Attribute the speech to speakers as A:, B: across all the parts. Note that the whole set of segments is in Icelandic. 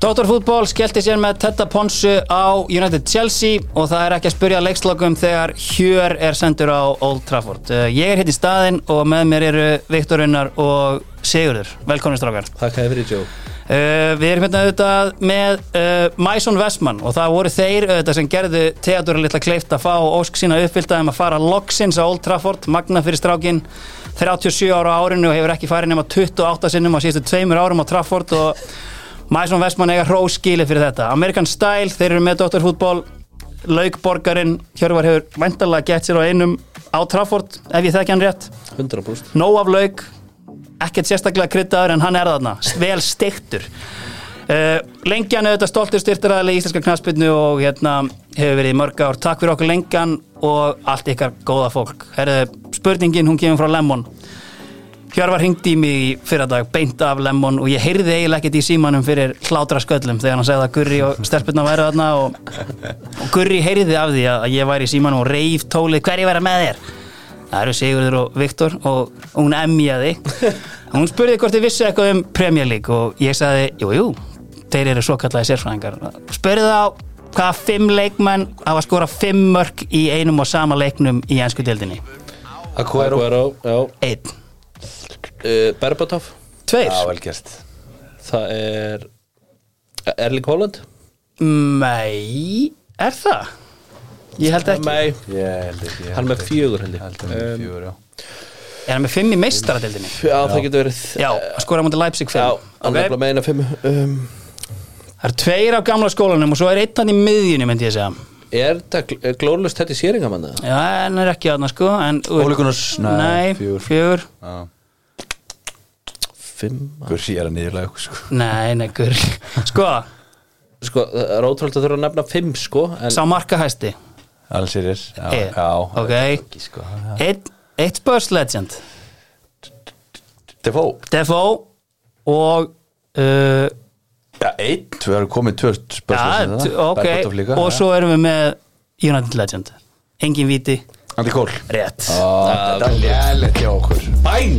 A: Dóttarfútból skellti sér með Tetta Ponsu á United Chelsea og það er ekki að spurja leikslokum þegar Hjör er sendur á Old Trafford. Eh, Ég er hitt í staðinn og með mér eru Viktor Unnar og Sigurður. Velkomin strákar.
B: Takk hefur í Jó
A: Eh, Við erum hérna auðvitað með uh, Mason Vestmann og það voru þeir auðvitað sem gerðu teatur litla kleift að fá ósk sína uppfylta um að fara loksins á Old Trafford, magna fyrir strákin 37 ára á árinu og hefur ekki farið nema 28 sinnum á síðustu tveimur árum á Trafford og Mason Vestmann eiga hróskíli fyrir þetta American Style, þeir eru með Dr. Fútbol Laugborgarinn, Hjörvar hefur væntalega gett sér á einum á Trafford ef ég þekki hann rétt
B: 100%
A: nóg af lauk ekkert sérstaklega kryddaður en hann er þarna vel stiktur uh, Lengjan er auðvitað stoltur styrtaræðileg í íslenska knaspinu og hérna hefur verið í mörg ár, takk fyrir okkur Lengjan og allt ykkar góða fólk Herðu, spurningin hún kemur frá Lemon Hjörvar hringdi í mig í fyrradag beint af Lemon og ég heyrði eiginlega ekkert í símanum fyrir hlátra sköllum þegar hann segði að Gurri og stelpunna væri þarna og, og Gurri heyrði af því að að ég væri í símanum og reif tólið hverju vera með þér það eru Sigurður og Viktor og hún emjaði hún spurði hvort þið vissi eitthvað um Premier League og ég sagði, jú, jú, þeir eru svo kallaði sérfræðingar spurði þá hvaða fimm leikmenn hafa skorað fimm mörk í einum og sama leiknum í ennsku deildinni
B: Aguero Já
A: einn,
B: uh, Berbatov
A: tveir
C: Já, vel gert
B: Það er Erling Holland
A: Nei, er það? Ég held ekki
B: Nei
C: Ég held ekki
B: Hann er með fjögur held ég
C: Held að með fjögur, já
A: Er hann með fimm í meistaradeildinni?
B: Já, það getur verið
A: Já, skora mútið Leipzig
B: Já,
A: fimm
B: hann er
A: okay.
B: bara með eina fimm um,
A: Það er tveir af gamla skólanum og svo er einn hann í miðjunni myndi ég segja
B: Er eh, þetta glóðlust þetta í séringamann eða?
A: Já, hann er ekki aðna sko en,
C: Óli Gunnars, nei,
A: Nei,
C: fjögur.
A: fjögur
B: Fimm
C: Gursi er að niðurlega okkur sko
A: Nei, nei, gurl Sko,
B: Sko, það er ótrúlega að þurfa að nefna fimm sko En
A: sá markahæsti
C: Alls er þér Já,
A: Eh,
C: já
A: ok.
C: Ekki sko já.
A: Eitt, eitt Spurs legend
C: Defoe
A: Defoe og uh,
C: Já, einn Þú erum komið tvö
A: ja,
C: spörslega
A: t- ok, og svo erum við með United legend Engin viti,
C: Andi Kól
A: rétt
C: Þetta er lélega hjá okkur Ah, Bæn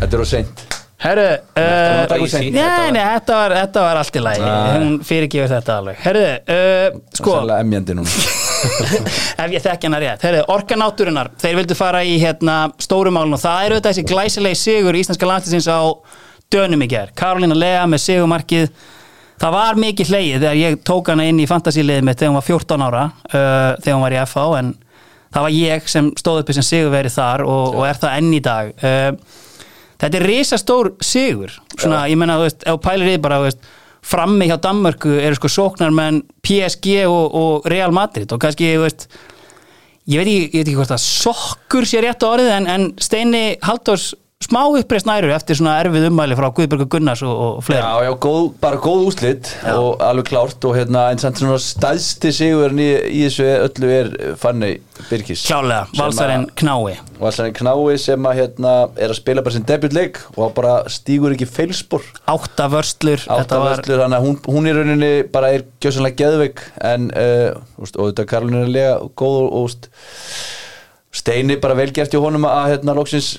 C: Þetta er á seint
A: Herru, uh,
C: Þetta var seint.
A: Nei, nei, þetta var, þetta var allt í lagi Hún fyrirgefur þetta alveg Herðu, uh, sko,
C: Sannlega emjandi núna
A: ef ég þekki hana rétt Herðu, orkanáturinnar, þeir vildu fara í hérna, stórumálun og það eru þetta þessi glæsilegi sigur íslenska landsliðsins á dönum í gær Karolina Lea með sigumarkið Það var mikið hlegið þegar ég tók hana inn í fantasíliðið mitt þegar hún var 14 ára uh, þegar hún var í FH en það var ég sem stóð uppi sem sigurveri þar og, og er það enn í dag uh, Þetta er risastór sigur svona, ég menna, þú veist, ef þú pælir í því bara, þú veist frammi hjá Danmörku eru sko sóknarmenn PSG og, og Real Madrid og kannski, þú veist ég veit ekki, ég veit ekki hvort að sokkur sé rétt á orðið en, en Steini Halldórs smá uppreist næru eftir svona erfið ummæli frá Guðbergur Gunnars og, og fleira
C: Já, já, góð, bara góð úslit
A: Já.
C: og alveg klárt og hérna eins og svona stæðsti sigurinn í, í þessu öllu er Fanny Birgis
A: klálega,
C: Sem að-
A: valsarinn knái
C: Valsarinn Knái sem að hérna er að spila bara sinn debutleik og hann bara stígur ekki feilspor
A: átta vörslur, þetta var
C: áttavöslur, hann að hún, hún í rauninni bara er gjössanlega geðveik en uh, úst, og þetta Karolina er lega góð og úst, Steini bara velgert hjá honum að hérna loksins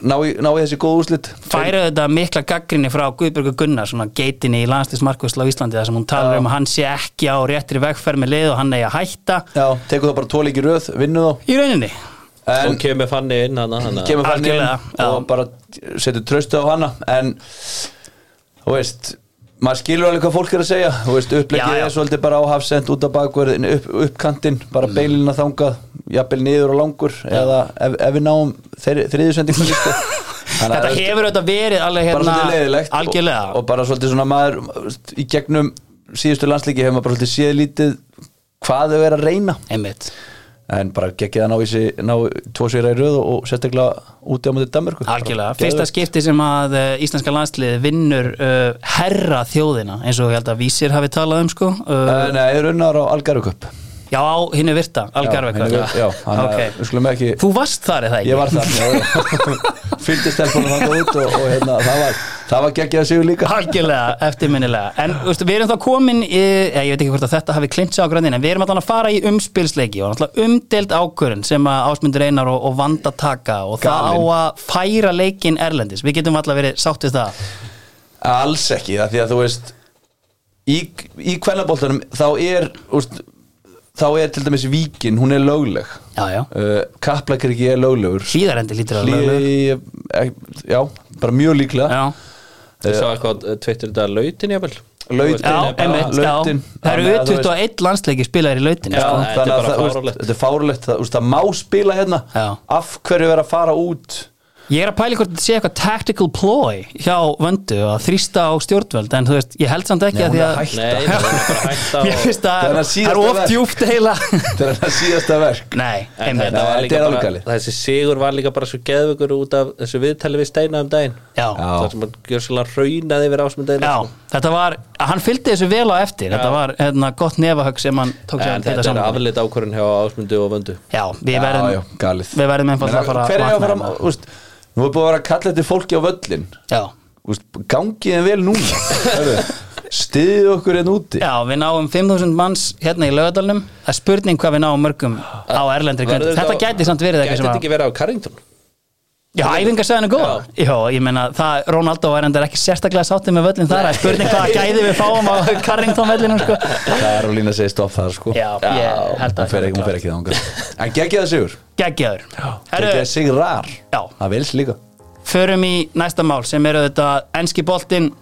C: ná í, ná í þessi góð úslit
A: færa þetta mikla gaggrinni frá Guðbjörgu Gunnar svona geitinni í landslismarkvæslu á Íslandi þar sem hún talar
C: Já.
A: um að hann sé ekki á réttri vegferð með lið og hann eigi að hætta
C: Já, tekur það bara tóleiki röð, vinnu þá
A: í rauninni
C: en
B: Svo kemur fanni inn hana, hana.
C: kemur fann inn
A: Algjörlega, já.
C: og bara setur tröstu á hana en þú veist maður skilur alveg hvað fólk er að segja þú veist,
A: Já,
C: upplegið
A: já.
C: er svolítið bara á hafsend út af bakverðin, upp, uppkantinn bara beilina þangað, jafnvel niður og langur eða ef, ef við náum þriðjusendingum líka
A: þetta hefur auðvitað verið alveg
C: bara
A: hérna
C: svolítið leiðilegt og,
A: algjörlega
C: og bara svolítið svona maður þú veist, í gegnum síðustu landslíki hefur maður bara svolítið séð lítið hvað þau er að reyna
A: einmitt
C: en bara geggið að ná, í sig, ná tvo sigra í röð og, og sérstaklega úti á mútið Danmarku
A: Algjörlega, fyrsta skipti sem að uh, íslenska landslið vinnur uh, herra þjóðina eins og ég held að vísir hafi talað um sko uh,
C: Uh, nei, runnar á Algaru Cup
A: Já, á hinnu virta, algarvekka
C: Já, já, hann okay.
A: Ok.
C: við skulum ekki
A: Þú varst þar eða ekki?
C: Ég var það Fylgdi stelpunum hann út og, og hérna, það var, það var geggjað sigur líka
A: Algjörlega, eftirminnilega En veistu, við erum þá komin, í, eh, ég, ég veit ekki hvort að þetta hafi klinsja á gröndin En við erum alltaf að fara í umspilsleiki Og alltaf umdelt ákvörun sem að Ásmundur Einar og, og Vanda taka Og það
C: Galinn.
A: á að færa leikin erlendis Við getum alltaf verið sátt við það
C: Alls ekki, það því að þú veist í, í kvennaboltanum þá er úst, þá er til dæmis víkin, hún er lögleg
A: Já, já.
C: uh, Kaplakriki er löglegur
A: Hlíðarendi lítur að
C: Hlý-
A: löglegur.
C: eh, Já, bara mjög líklega
A: Já,
B: Ég sá eitthvað eh, Twitter í dag lautin jafnvel
C: Lautin
A: já,
B: er bara-
A: einmitt,
C: lautin.
A: já. Það
C: Þannig
A: eru
C: að þú veist-
A: 21 landsleiki spilaðir í lautinni,
B: Já,
A: sko.
B: þetta er
C: Þannig að
B: bara
C: það, úst,
B: fáránlegt.
C: þetta er fárulegt það, úst, það má spila hérna
A: Já.
C: af hverju vera að fara út
A: Ég er að pæla í hvort þetta sé eitthvað tactical ploy hjá vöndu að þrýsta á stjórnvöld en þú veist, ég held samt ekki að
C: Nei, hún
A: því
C: er
A: að
C: hætt.
B: Nei, það er bara að hætta
A: Mér
B: og
A: finnst að
C: Þetta er
A: það
C: síðasta
A: er of
C: verk.
A: djúpt heila
C: þetta er það síðasta verk
A: Nei,
B: En
A: einmitt
B: þetta var
C: Nei,
B: líka
C: þetta er
B: bara,
C: algalið.
B: þessi sigur var líka bara svo geðvökur út af þessu viðtali við Steina um daginn
A: Já,
C: Já.
B: það sem hann gjör svolítið raunaði yfir ásmundaðin
A: já, þetta var hann fylgdi þessu vel á eftir þetta
B: Já.
A: var hérna, gott nefahögg sem hann tók sér
B: en þetta er
A: saman
B: afleitt ákvörðin hjá ásmundu og vöndu
A: Já, við
C: Já, já,
A: verðum
C: galið
A: við verðum einfaldlega að fara
C: Hver er að fara
A: vakna. hérna.
C: úst, Nú er búið að vera að kalla þetta fólki á völlin
A: Já,
C: úst, Gangið en vel núna Stiðið okkur einn úti
A: já, við náum 5.000 manns hérna í lögadalnum það er spurning hvað við náum mörgum á erlendri grönd Þetta gæti samt verið
B: Gæti
A: eitthvað
B: þetta
A: sem að
B: ekki verið á Carrington
A: Já, æfingarsæðan er góð Já, ég meina, það, Ronaldo var endar ekki sérstaklega sáttið með völlin þar að spurning hvaða gæði við fáum á Carrington vellinu, sko
C: Karolína segir stopp þar sko
A: Já, ég held að
C: Hún fer ekki, hún fer ekki þangað En geggjaði sigur
A: Geggjaður
C: Geggjaði
A: Herru,
C: sigrar
A: Já.
C: Það vils líka
A: förum í næsta mál sem eru þetta enski boltinn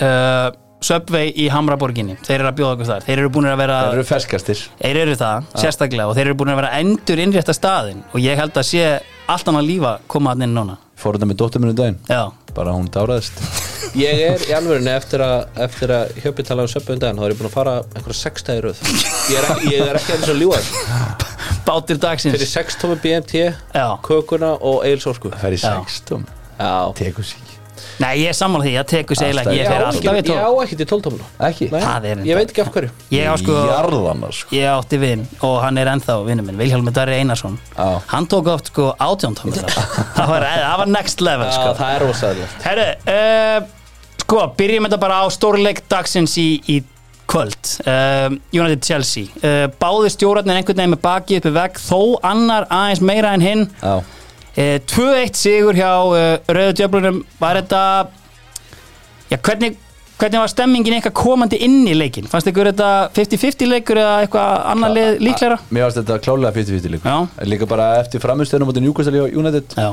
A: uh, Subway í Hamraborginni Þeir eru að bjóða okkur þar Þeir eru búin að vera
C: Það eru ferskastir
A: Þeir eru það, sérstaklega og þeir eru búin að vera endur innrétta staðin og ég held að sé allt annað lífa koma hann inn núna
C: Fór þetta með dóttur minni daginn
A: Já,
C: Bara hún dáraðist
B: Ég er í alvörinu eftir að, eftir að hjöpi tala um söpum daginn, þá er ég búin að fara einhverja sexta í röð Ég er, ég er ekki eins og ljúar
A: bátur dagsins
B: Fyrir sex tómi BMT,
A: Já.
B: kökuna og eilsorku
C: Það fer í
A: Já.
C: sextum
B: Já,
C: Tekur sig
A: Nei, ég er sammála því, ég tekur
C: Alltaf
A: segilega
C: í-
A: Ég fer alltaf í
B: Ég
A: tól
B: á ekkert í tóltómuna
C: Ekki
A: Það er
B: Ég veit ekki af hverju
A: Ég á sko
C: Jarðana sko
A: Ég átti vinn og hann er ennþá vinnu minn Vilhjálmur Darri Einarsson
C: Já.
A: Hann tók oft sko átjóntómur það, var- það var next level
B: Já,
A: sko.
B: Það er rosaðilegt
A: Herru, uh, sko, byrjum þetta bara á stórleik dagsins í, í kvöld uh, United Chelsea uh, Báði stjórarnir einhvern veginn með baki uppi vegg Þó annar aðeins meira en hinn
C: Já
A: uh, 2-1 sigur hjá uh, Rauðu Djöflunum Var þetta Já, hvernig, hvernig var stemmingin eitthvað komandi inn í leikin? Fannst ykkur þetta 50-50 leikur eða eitthvað annað lið líklæra?
C: Mér varst þetta klálega 50-50 líka
A: Já.
C: Líka bara eftir framistöðunum Máttin Júkastalí og United
A: Já,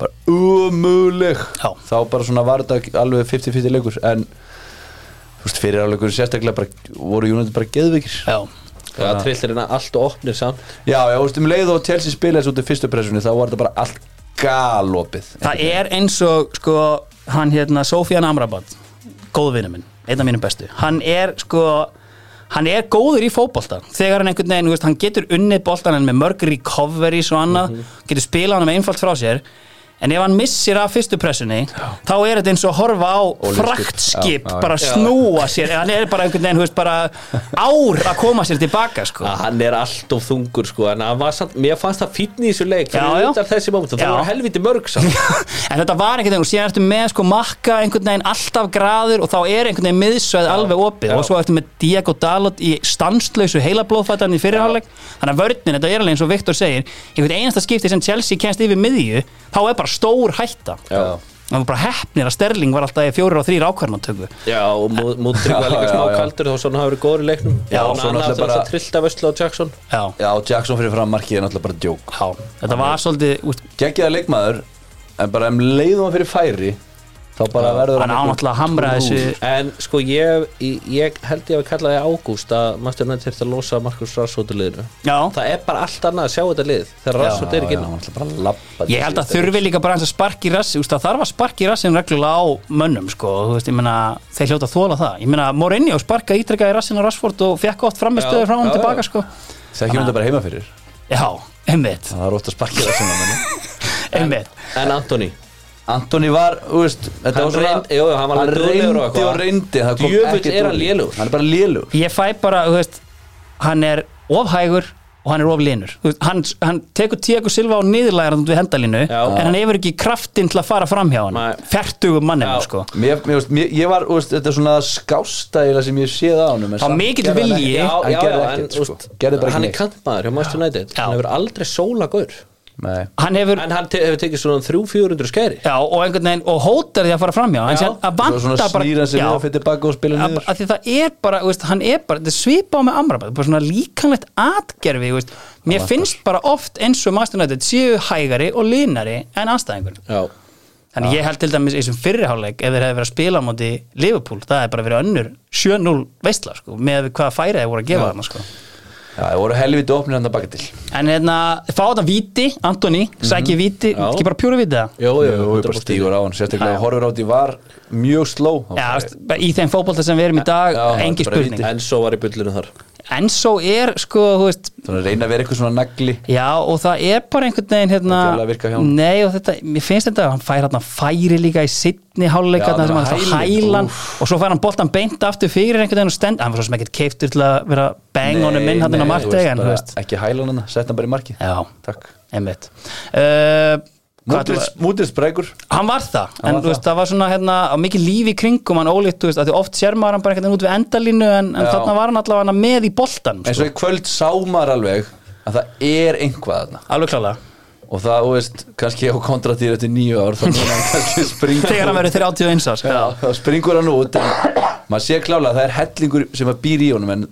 C: Bara umulig
A: Já.
C: Þá bara svona var þetta alveg 50-50 leikur En Þú veist, fyrir áleikur sérstaklega bara Voru United bara geðvikir Já,
A: já,
B: Það trillir hérna allt og opnir samt
C: já, þú veist, um leið og Chelsea spilaðis út í fyrstu pressunni Þá var þetta bara allt galopið
A: það er eins og sko, hann hérna Sofian Amrabat, góðvinni minn einn af mínum bestu, hann er sko hann er góður í fótbolta þegar hann einhvern veginn, þú veist, hann getur unnið boltan en með mörg recoveries og annað
C: Mhm.
A: getur spilað hann með einfalt frá sér en ef hann missir af fyrstu pressunni þá er þetta eins og að horfa á
C: Olíuskip.
A: fraktskip
C: Já, já,
A: bara
B: já.
A: snúa sér hann er bara einhvern veginn, þú veist, bara ár að koma sér tilbaka sko.
B: að hann er allt of þungur sko en hann var samt, mér fannst það fínn í þessu leik
A: Já,
B: fyrir
A: já.
B: utan þessi moment,
A: Já.
B: það voru helviti mörg samt
A: en þetta var einhvern veginn og síðan ertu með sko makka einhvern veginn alltaf graður og þá er einhvern veginn miðsveið alveg opið
B: já.
A: og svo ertu með Diego Dalot í stanslausu heila blóðfættan í fyrirháleik þannig að vörninn, þetta er alveg eins og Viktor segir einhvern einasta skipti sem Chelsea kennst yfir miðju þá er bara stór hætta
B: Já.
A: það var bara heppnir að Sterling var alltaf í fjórir og þrýr ákvarðantöku
B: já, og Mú- mútrík var líka
C: Já,
B: smá
C: já, já.
B: kaldur þá svona hafa verið góður í leiknum
C: Já,
B: og
C: svo
B: hann
C: náttúrulega
B: hafði
C: bara-
B: bara trillt af Ösla og Jackson
A: já,
C: Já, Jackson fyrir fram markið er náttúrulega bara djók
A: já. þetta var svolítið úst,
C: Gekkjaða leikmaður En bara um leið og hann fyrir færi Þá bara verður
A: hann
C: einhver
A: ánáttúrulega að hamra
C: trúður.
A: þessu
B: en sko ég, ég- ég held ég að við kallaði ágúst að Master United þurfti að losa Markus Rassóttu liðinu
A: já,
B: það er bara allt annað að sjá þetta lið þegar Rassóttu er
C: Já,
B: ekki
C: já,
B: inn á.
C: hann ætla bara að labba
A: ég held að þurfi líka bara hans að sparki rassi úst, það þarf að sparki rassin reglulega á mönnum sko, og þú veist, ég meina, þeir hljóta að þóla það ég meina, Mourinho sparka ítrekkaði rassin á Rassford og fekk gott framistöðu
B: Já,
A: frá hann
B: já,
A: tilbaka
B: já.
A: sko.
C: Þekkjum þetta bara heima fyrir
A: já, einmitt,
C: Það er ótt að sparkja það sem hann
A: einmitt
B: en Antoni,
C: Antoni var, þú veist þetta
B: Hann
C: var svona-
B: reynd- jú, jú, hann var alveg duglegur og
C: reyndi
B: eitthvað.
C: og reyndi það kom
B: Djöfull
C: ekkert
B: er hann
C: úr því.
B: lélegur.
C: Hann er bara lélugur
A: ég fæ bara, þú veist hann er ofhægur og hann er oflinur hann, hann tekur tekur silfa á niðurlægar við hendalínu,
B: Já.
A: en hann hefur ekki kraftinn til að fara fram hjá hann,
B: Nei.
A: fjartugum manninu
B: Já.
A: sko.
C: mér, mér, veist, mér, Ég var, þú veist, þetta er svona skásta eiginlega sem ég séð á honum en
A: Þá
C: samt
A: mikill
C: gerði hann
A: vilji.
C: ekkert.
B: já,
C: Hann
B: já,
C: gerði
B: já, en
C: ekkert,
B: þú
C: sko.
B: veist,
C: Gerði bara
B: hann
C: ekki
B: er
C: neitt
B: kantmaður hjá Master United
A: Já.
B: hann hefur aldrei sóla gaur
C: Nei.
A: hann hefur,
B: En hann te hefur tekið svona um 300-400 skæri
A: já, og einhvern veginn og hótar því að fara framhjá
B: Já.
A: en síðan að
C: Svo svona
A: vanta bara
C: snýra sig
A: já,
C: við og fyrir baka og spila
A: að,
C: niður
A: að því það er bara, þú veist, hann er bara þetta er svipað á með Amrabat, bara svona líkanlegt atgerfi, þú veist, mér finnst bara oft eins og Master United séu hægari og línari en anstæðingur
B: Já,
A: þannig ég held til dæmis í þessum fyrriháleik ef þeir hefði verið að spila á móti Liverpool það hefði bara verið önnur 7-0 veistla sko, með við hvaða færi þeir voru að gefa þarna sko.
C: Já, það voru helviti opnir hann að baka til
A: en hérna, fá þetta víti, Antoni sæki víti,
B: Já.
A: ekki bara pjúru víti það
B: já, já,
C: Jú, ég bara
B: 100%.
C: stígur á hann,
A: Já.
C: sérstaklega horfur á því var mjög sló
A: Já, veist, í þeim fótbolta sem við erum í dag
C: Já,
A: engi
C: bara víti.
A: spurning,
B: En svo var í bullinu þar
A: en svo er sko, þú veist,
C: Þannig að reyna að vera eitthvað svona nagli
A: Já og það er bara einhvern veginn hérna,
C: Það er alveg að virka hjá honum.
A: Nei og þetta, mér finnst þetta að hann fær hérna færi líka í sittni
C: Já,
A: hálfleika þarna sem
C: þarna
A: hann hælan,
C: hælinn,
A: hælan og svo fær hann boltan beint aftur fyrir einhvern veginn og stend hann var svo sem ekkert keiftur til að vera bang honum inn hann á Marteg en þú veist
C: Ekki hæla hann, sett hann bara í markið
A: Já,
C: Takk
A: einmitt uh, hvað
C: Mútils,
A: ætlum við-
C: mútils breikur
A: Hann var það,
C: Hann
A: en
C: var
A: þú veist, það var svona hérna, á mikið lífi kringum hann ólíkt, þú veist, að því oft sér maður hann bara einhvern veginn út við endalínu en, en
C: Já.
A: þarna var hann allavega með í boltan
C: En
A: sko.
C: svo í kvöld sá maður alveg að það er einhvað þarna
A: Alveg klálega
C: Og það, þú veist, kannski á kontratýr eftir nýju ár Þannig að hann kannski springur
A: Þegar hann verið 31 árs
C: Já, þá springur hann út en Maður sé klálega að það er hellingur sem að býr í honum En,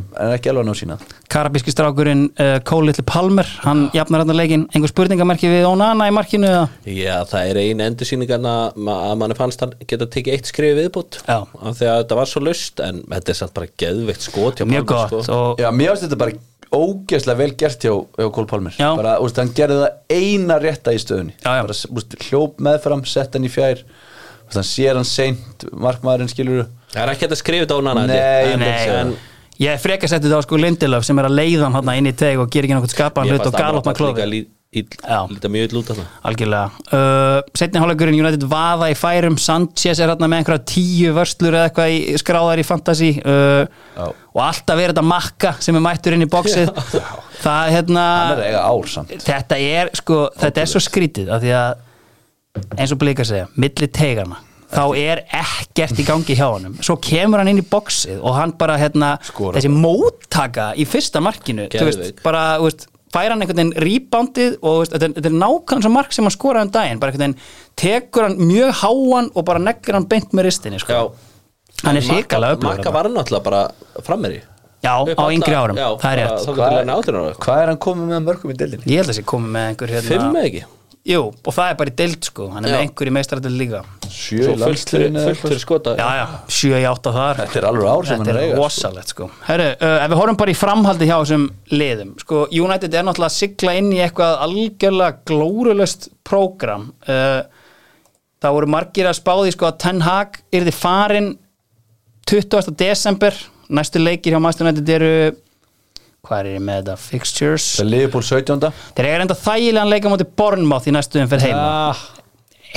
C: en ekki alveg að ná sína
A: karabíski strákurinn uh, Cole Little Palmer, hann jafnar hann leikinn einhver spurningamerki við Onana í markinu eða?
B: Já, það er ein endursýningan að ma- að manni fannst hann geta tekið eitt skrifi viðbútt
A: Já.
B: af því að þetta var svo lust en þetta er samt bara geðveikt skot hjá sko.
A: mjög
B: Pálma,
A: gott og
C: Já, mér finnst þetta bara ógeðslega vel gert hjá, hjá Kól Pálmir
A: Já.
C: bara, úst, hann gerði það eina rétta í stöðunni
A: Já, já.
C: bara úst, hljóp meðfram, sett hann í fjær úst, hann sér hann seint markmaðurinn skilur
B: Það er ekki þetta skrifið á hann hana,
C: Nei,
B: held ég. en,
A: nei,
B: en,
A: ég freka setti þetta á sko Lindelöf sem er að leiða hann hann inn í teg og gera ekki nokkuð skapaðan
B: Mér
A: hlut og
B: fannst
A: galop
B: Amrabat
A: með klófi
B: líka lí- ill-
A: Já.
B: Líta mjög ill út af það
A: algjörlega uh, setni hálfleikurinn United vaða í færum Sanchez er hérna með einhverja tíu vörslur eða eitthvað í, skráðar í fantasy uh,
C: Já.
A: og alltaf er þetta makka sem er mættur inn í bóksið það hérna
C: hann er að eiga ár samt
A: þetta er sko, þetta er svo skrítið af því að eins og blika segja, milli teigana þá er ekkert í gangi hjá honum svo kemur hann inn í boxið og hann bara hérna,
C: Skorar.
A: þessi móttaka í fyrsta markinu, þú veist,
B: Geðveik.
A: bara þú veist, fær hann einhvern veginn reboundið og þú veist, þetta er, þetta er nákvæmlega svo mark sem hann skoraði um daginn, bara einhvern veginn tekur hann mjög háan og bara neggur hann beint með ristinni, sko, hann er hrikalega öflugur
B: Marka
A: þarna.
B: var náttúrulega bara frammeri
A: já, á yngri árum, það er rétt
B: Það getur lenni áttur ára
C: hvað er hann komið með mörgum í delinni?
A: ég held að sé komið með einhver hérna,
B: Fimm eða ekki
A: Jú, og það er bara í deild sko, hann er
B: Já.
A: með einhver í meistaradeild líka
C: sjö
B: Svo
C: í
B: fullt fyrir-
C: landsliðinu eða
B: fullt
C: eitthvað.
B: fyrir skota
A: Já, já, 7 í 8 þar
C: þetta er alveg ár sem
A: Þetta
C: hann er að
A: er
C: eiga
A: rosalegt sko Herru, uh, ef við horfum bara í framhaldi hjá þessum liðum sko, United er náttúrulega að sigla inn í eitthvað algjörlega glórulöst prógram uh, Það voru margir að spáði sko að Ten Hag yrði farin 20. desember Næstu leikir hjá Master United eru Hvað er ég með þetta? Fixtures
C: það er Liverpool 17.
A: Þeir eiga enda þægilegan leika móti Bournemouth í næstu umferð heima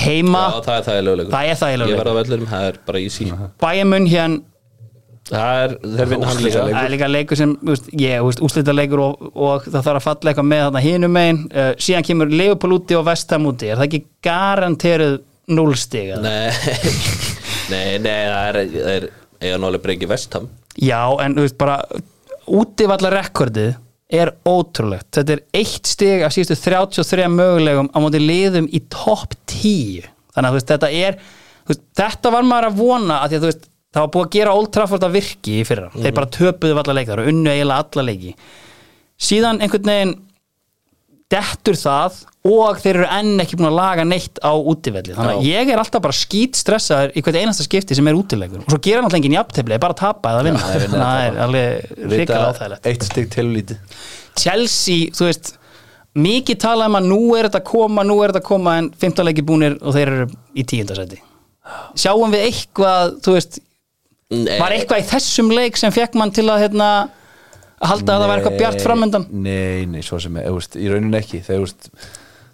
A: Heima,
B: Já, það er það er lögulegur
A: Það er þægilegur
B: Ég
A: leikur.
B: verða á vellurum, það er bara easy
A: Bayern Munn hérna
B: Það er, þeir vinna hann líka
A: Það er líka leikur sem, þú veist, ég, þú veist, úslita leikur og, og það þarf að falla eitthvað með þarna hinum megin uh, síðan kemur Leopold úti og Vestham úti er það ekki garanteruð núlstig eða?
B: Nei, nei, nei, það er, það er eiga nálega brengi vestam
A: Já, en þú veist, bara útivalla rekordið er ótrúlegt þetta er eitt stig af síðustu 33 mögulegum á móti liðum í topp 10 þannig að þú veist, þetta er þú veist, þetta var maður að vona að því að þú veist það var búið að gera Old Trafford að virki í fyrra þeir bara töpuðu alla leiki, það eru unnu eiginlega alla leiki síðan einhvern veginn dettur það og þeir eru enn ekki búin að laga neitt á útivelli þannig að
B: Já.
A: ég er alltaf bara skýt stressaður í hvert einasta skipti sem er útilegur og svo gera hann alltaf enginn jafntefli, er bara að tapa eða vinna
C: þeir vinna
A: þannig að það er alveg hrikalega áþægilegt
C: eitt stygg til lítið
A: Chelsea, þú veist mikið talað um að nú er þetta að koma nú er þetta að koma en 15 leiki búnir og þeir eru í tíundasæti sjáum við eitthvað, þú veist
B: Nei,
C: Eh.
A: var eitthvað í þessum leik sem fekk mann til að hérna, halda að það var eitthvað bjart framöndan
C: nei, nei, svo sem er, þú veist, í rauninni ekki þegar, þú veist,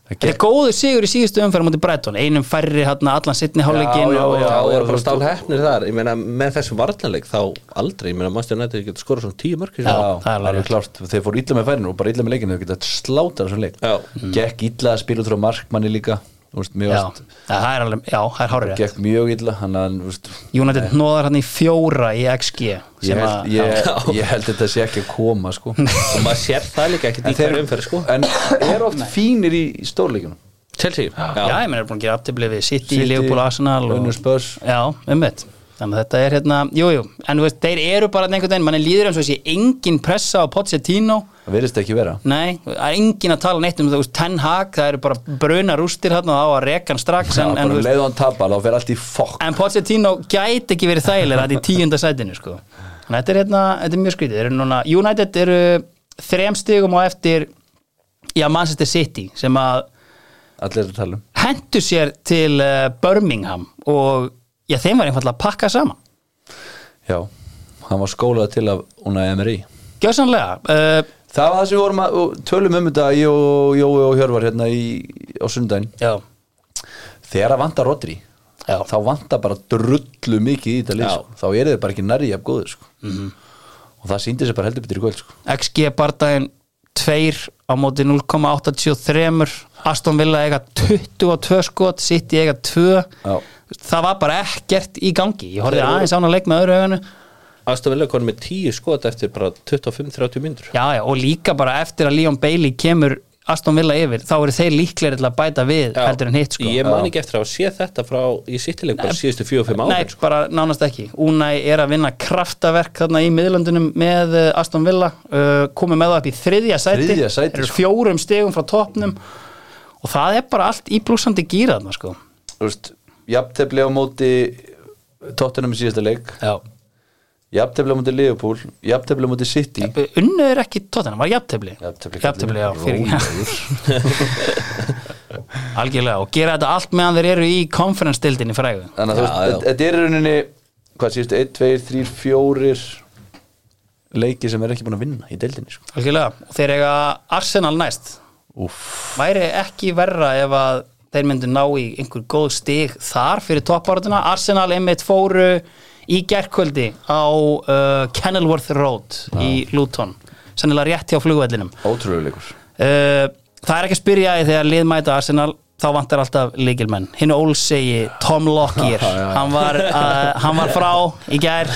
C: það
A: Þetta er góður sigur í síðustu umferð á móti Breton, einum færri hérna allan sittni hálfleikin
C: Já,
A: og
B: Já,
C: já,
B: það er
C: þú-
B: bara stál hefnir þar Ég meina, með þessum varnarleik þá aldrei Ég meina, mannstu nættið getur skorað svona tíu mörg
A: Já.
C: Já,
A: það er alveg
C: alveg klárt Þeir fóru illa með færinu og bara illa með leikinu Þeir geta slátar þessum leik
B: Já.
C: Gekk illa að spila út frá markmanni líka úst, mér
A: Mm. Já,
C: varst,
A: það er alveg, já, það er hárið
C: gekk mjög illa hann að, úst,
A: United nóðar hann í fjóra í XG
C: ég,
A: sem
C: held,
A: að,
C: ég,
B: já.
C: ég held þetta sé ekki að koma sko.
B: og maður sér það líka ekki í hverju umferð sko
C: en er oft fínir í, í stórleikjunum
B: Chelsea,
A: já,
B: já,
A: ég menn er búin að gera aftiblið við City,
C: City,
A: Liverpool, Arsenal og,
C: Unnur Spurs
A: Já, umveitt Þannig að þetta er hérna, jújú, jú. en þú veist, þeir eru bara þarna einhvern veginn, manni líður eins og sé engin pressa á Pochettino,
C: það verðist ekki vera
A: nei, það er engin að tala neitt um það, þú veist, Ten Hag, það eru bara bruna rústir hérna og á að reka hann strax,
C: Já,
A: en, en,
C: bara
A: þú
C: um
A: veist,
C: leið og hann tapar, þá fer allt í fokk
A: en Pochettino gæti ekki verið þægilega þetta í tíunda sætinu sko. þannig að þetta er, hérna, þetta er mjög skrítið Þeir eru núna, United eru þrem stigum á eftir já, Manchester City sem að
C: allir er að tala um
A: hendu sér til eh, Birmingham og já, þeim var einfallega að pakka saman
C: já, hann var skólað til af Una Emery
A: Gjössanlega, uh,
C: það var það sem við vorum að og tölum um þetta ég og Jói og Hjörvar hérna í, á sundaginn
A: já,
C: þegar að vanta Rodri
A: Já.
C: þá vanta bara drullu mikið í þetta lið
B: Já.
C: sko. þá eru þið bara ekki nærri jafn góður sko. -hmm. og það síndi sér bara heldur betur í kvöld sko.
A: XG bardaginn 2 á móti 0,83 Aston Villa eiga 22 skot City eiga 2
C: Já.
A: það var bara ekkert í gangi ég horfði
B: Þeir voru-
A: aðeins án að leik með öðru augunu
B: aðstof vilja konum með 10 skot eftir bara 25-30 myndur
A: Já, já, og líka bara eftir að Leon Bailey kemur Aston Villa yfir, þá eru þeir líklegir til að bæta við heldur en hitt, sko
B: ég man ekki eftir að sé þetta frá í sittileg bara síðustu 4-5
A: Nei,
B: ára sko.
A: bara nánast ekki. Unai er að vinna kraftaverk þarna í miðlöndunum með eh, Aston Villa, uh, komið með það upp í þriðja sæti,
C: Þriðja sæti,
A: Þeir eru
C: sko.
A: fjórum stegum frá toppnum og það er bara allt í blúsandi gýra þarna, sko
C: Þú veist, jafntefli á móti tóttunum í síðasta leik
A: Já.
C: jafntefli á móti Liverpool jafntefli á móti City
A: Eh, Unnu er ekki tóttina, var jafntefli
C: Jafntefli,
A: já, fyrir
C: Rólegur.
A: Algjörlega, og gera þetta allt meðan þeir eru í konferensdildinni frægu
B: Já,
C: þannig að þú veist,
B: já.
C: þetta- þetta er í rauninni hvað síðustu, 1, 2, 3, 4 leiki sem er ekki búin að vinna í deildinni sko.
A: Algjörlega, og þeir eiga Arsenal næst
C: Úff,
A: væri ekki verra ef að þeir myndu ná í einhver góð stig þar fyrir topparöðuna Arsenal einmitt fóru í gerkvöldi á uh, Kenilworth Road í Luton sannilega rétt hjá flugvellinum
C: ótrúlega leikur
A: uh, það er ekki að spyrja í þegar lið mæta Arsenal þá vantar alltaf líkilmenn hinn ólsegi Tom Lockyer hann var, uh, hann var frá í gær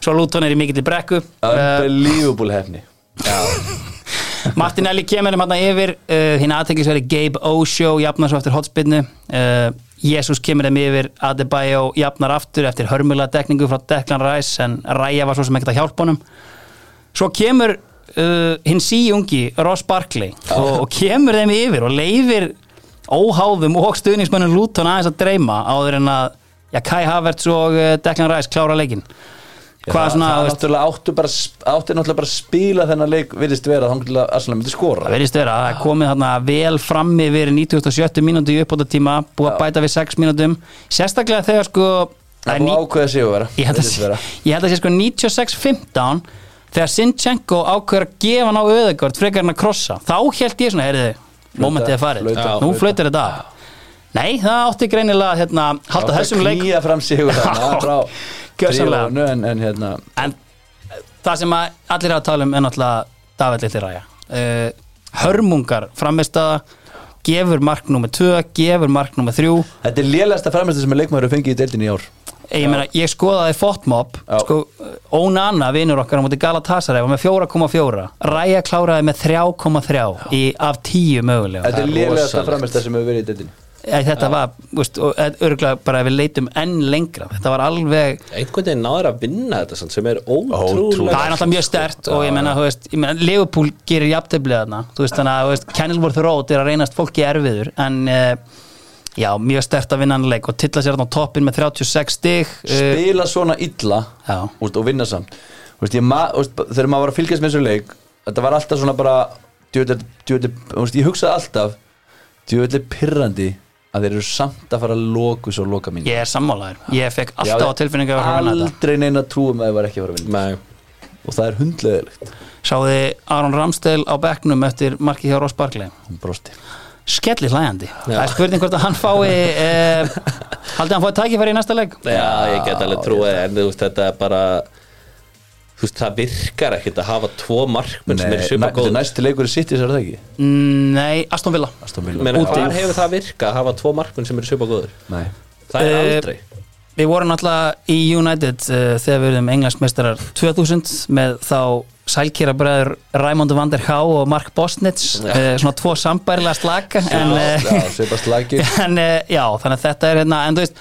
A: svo Luton er í mikill brekku uh,
C: unbelievable hefni
A: Martin Eli kemur um hann yfir uh, hinn aðteklisveri Gabe Osho jafnar svo eftir hotspinnu uh, Jesus kemur um yfir Adebayo jafnar aftur eftir hörmulega dekningu frá Declan Rice en Raya var svo sem ekkert að hjálpa honum svo kemur uh, hinn síungi Ross Barkley og, og kemur þeim yfir og leifir óháðum og stuðningsmönnum Luton aðeins að dreyma áður en að já, Kai Havertz og uh, Declan Rice klára leikinn hvað svona,
C: það,
A: þú
C: það
A: veist,
C: náttúrulega áttu bara áttu náttúrulega bara að spila þennan leik virðist vera þá náttúrulega Arsenal myndi skora
A: Það verðist vera, það er komið þarna vel fram yfir 97. mínútu í uppbótartíma búið að bæta við 6 mínútum sérstaklega þegar sko það er
C: það er
A: ní-
C: ákveða sig að vera
A: ég held að
C: Virðist
A: sé-
C: vera.
A: ég held að sé sko 96-15 þegar Sinchenko ákveður að gefa hann á öðugörd frekar hann að krossa, þá held ég svona heyrðu, momentið er farið,
C: flauta,
A: nú
C: flauta.
A: flautir þetta af nei, það átti greinilega að, hérna,
C: Áttu
A: halda
C: að
A: þessum leik
C: knýja fram sig
A: Já, gjörsamlega.
C: en, en hérna
A: en það sem að allir er að tala um er náttúrulega David Lillir Ræja uh, hörmungar framist gefur mark nummer 2, gefur mark nummer 3
C: þetta er lélægsta framhæstu sem er leikmaður að fengi í deildinni í ár
A: Eh, ég meina, ég skoðaði Fotmob
C: Já.
A: sko, Ónana, vinur okkar á móti Galatasaray var með 4,4 Ræja kláraði með 3,3 í- af 10 mögulega
C: þetta
B: er
C: er lélægsta
B: rosalegt.
C: framhæstu sem hefur verið í deildinni
A: Eh, þetta var, veist, og eh, örugglega bara ef við leitum enn lengra, þetta var alveg
B: einhvern veginn náður að vinna þetta samt, sem er
C: Ótrúlega.
B: ótrúlega
A: það er náttúrulega mjög stert og ég menna, þú veist, ég menna Liverpool gerir jafnteflið þarna þú veist, þannig að, þú veist, Kenilworth Road er að reynast fólki erfiður en uh, já, mjög stert að vinna hann leik og tilla sér þarna á toppin með 36 stig uh,
C: spila svona illa
A: Já.
C: úst, og vinna samt úst, ég, ma, úst, þegar maður var að fylgjast með þessu leik þetta var alltaf svona bara djöfli, djöfli, úst, ég hugsaði alltaf djöfli pirrandi að þeir eru samt að fara að loku svo loka mín
A: ég er sammálaður, ég fekk alltaf á tilfinningu að vera að vinna þetta
C: aldrei neina trúum að þeir var ekki að fara að vinna
B: Nei,
C: og það er hundleðilegt
A: sáði Aron Ramsdale á bekknum eftir marki hjá Ross Barkley
C: hún brosti
A: skelli hlæjandi, það er spurning hvort að hann fái uh, haldið hann fóði tækifæri í næsta leik
B: já, ég get alveg trúið en þú veist þetta er bara þú veist, það virkar ekkert að hafa tvo markmenn sem er svipa góð
C: næst til leikur í City sér það ekki
A: Nei, Aston Villa
C: Aston Villa
B: Meina,
A: Úti.
B: hvar hefur það virkað að hafa tvo markmenn sem er svipa góður
C: Nei.
B: það er
A: Eh,
B: aldrei
A: Við vorum náttúrulega í United uh, þegar við erum englandsmeistarar 2000 með þá sælkýra bræður Raimond van der Há og Mark Bosnitz uh, svona tvo sambærilega slaka en, uh,
C: Já, svipast lagið
A: en uh, já, þannig að þetta er hérna en þú veist,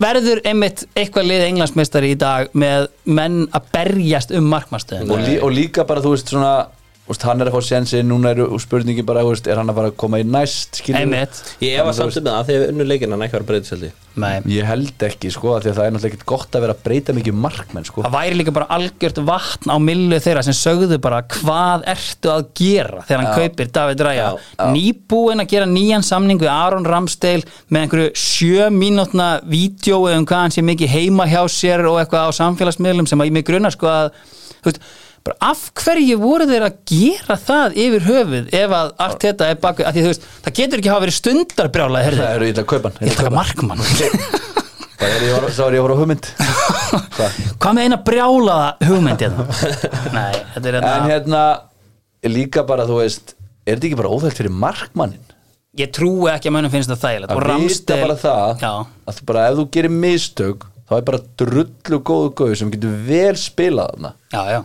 A: verður einmitt eitthvað lið englandsmeistari í dag með menn að berjast um markmannstöðum
C: og, lí, og líka bara þú veist svona úst, hann er að fá sensi, núna eru og spurningi bara úst, er hann að fara að koma í næst skilur við?
A: Einmitt.
B: ég
C: Þannig
B: hefa
C: að þú
B: samt um það að þegar unnu leikinn hann ekki var breytiseldi
A: Nei.
C: veist, ég held ekki sko af því að það er náttúrulega ekkert gott að vera að breyta mikið markmenn sko
A: Það væri líka bara algjört vatn á millu þeirra sem sögðu bara hvað ertu að gera þegar hann kaupir David Ræja
B: Já,
A: nýbúin að gera nýjan samning við Aron Ramsdale með einhverju sjö mínútna vídjói um hvað hann sé mikið heima hjá sér og eitthvað á samfélagsmiðlum sem að ég mig grunnar sko að þú veist, bara af hverju voru þeir að gera það yfir höfuð ef að allt þetta er baku að því þú veist, það getur ekki hafa verið stundarbrjála
C: það
A: herði,
C: eru illa kaupan
A: ég taka markmann
C: það er ég var- þá er ég að voru á hugmynd Hvað?
A: hvað með eina brjálaða hugmyndi hérna? nei, þetta er
C: en
A: hérna
C: hérna líka bara þú veist er þetta ekki bara óþægt fyrir markmannin
A: ég trúi ekki að mönnum finnst það þægilegt
C: að
A: og
C: vita
A: Ramsdale
C: bara það
A: já,
C: að þú bara ef þú gerir mistök þá er bara drullu góðu gauð sem getur vel spilað þarna
A: já, já,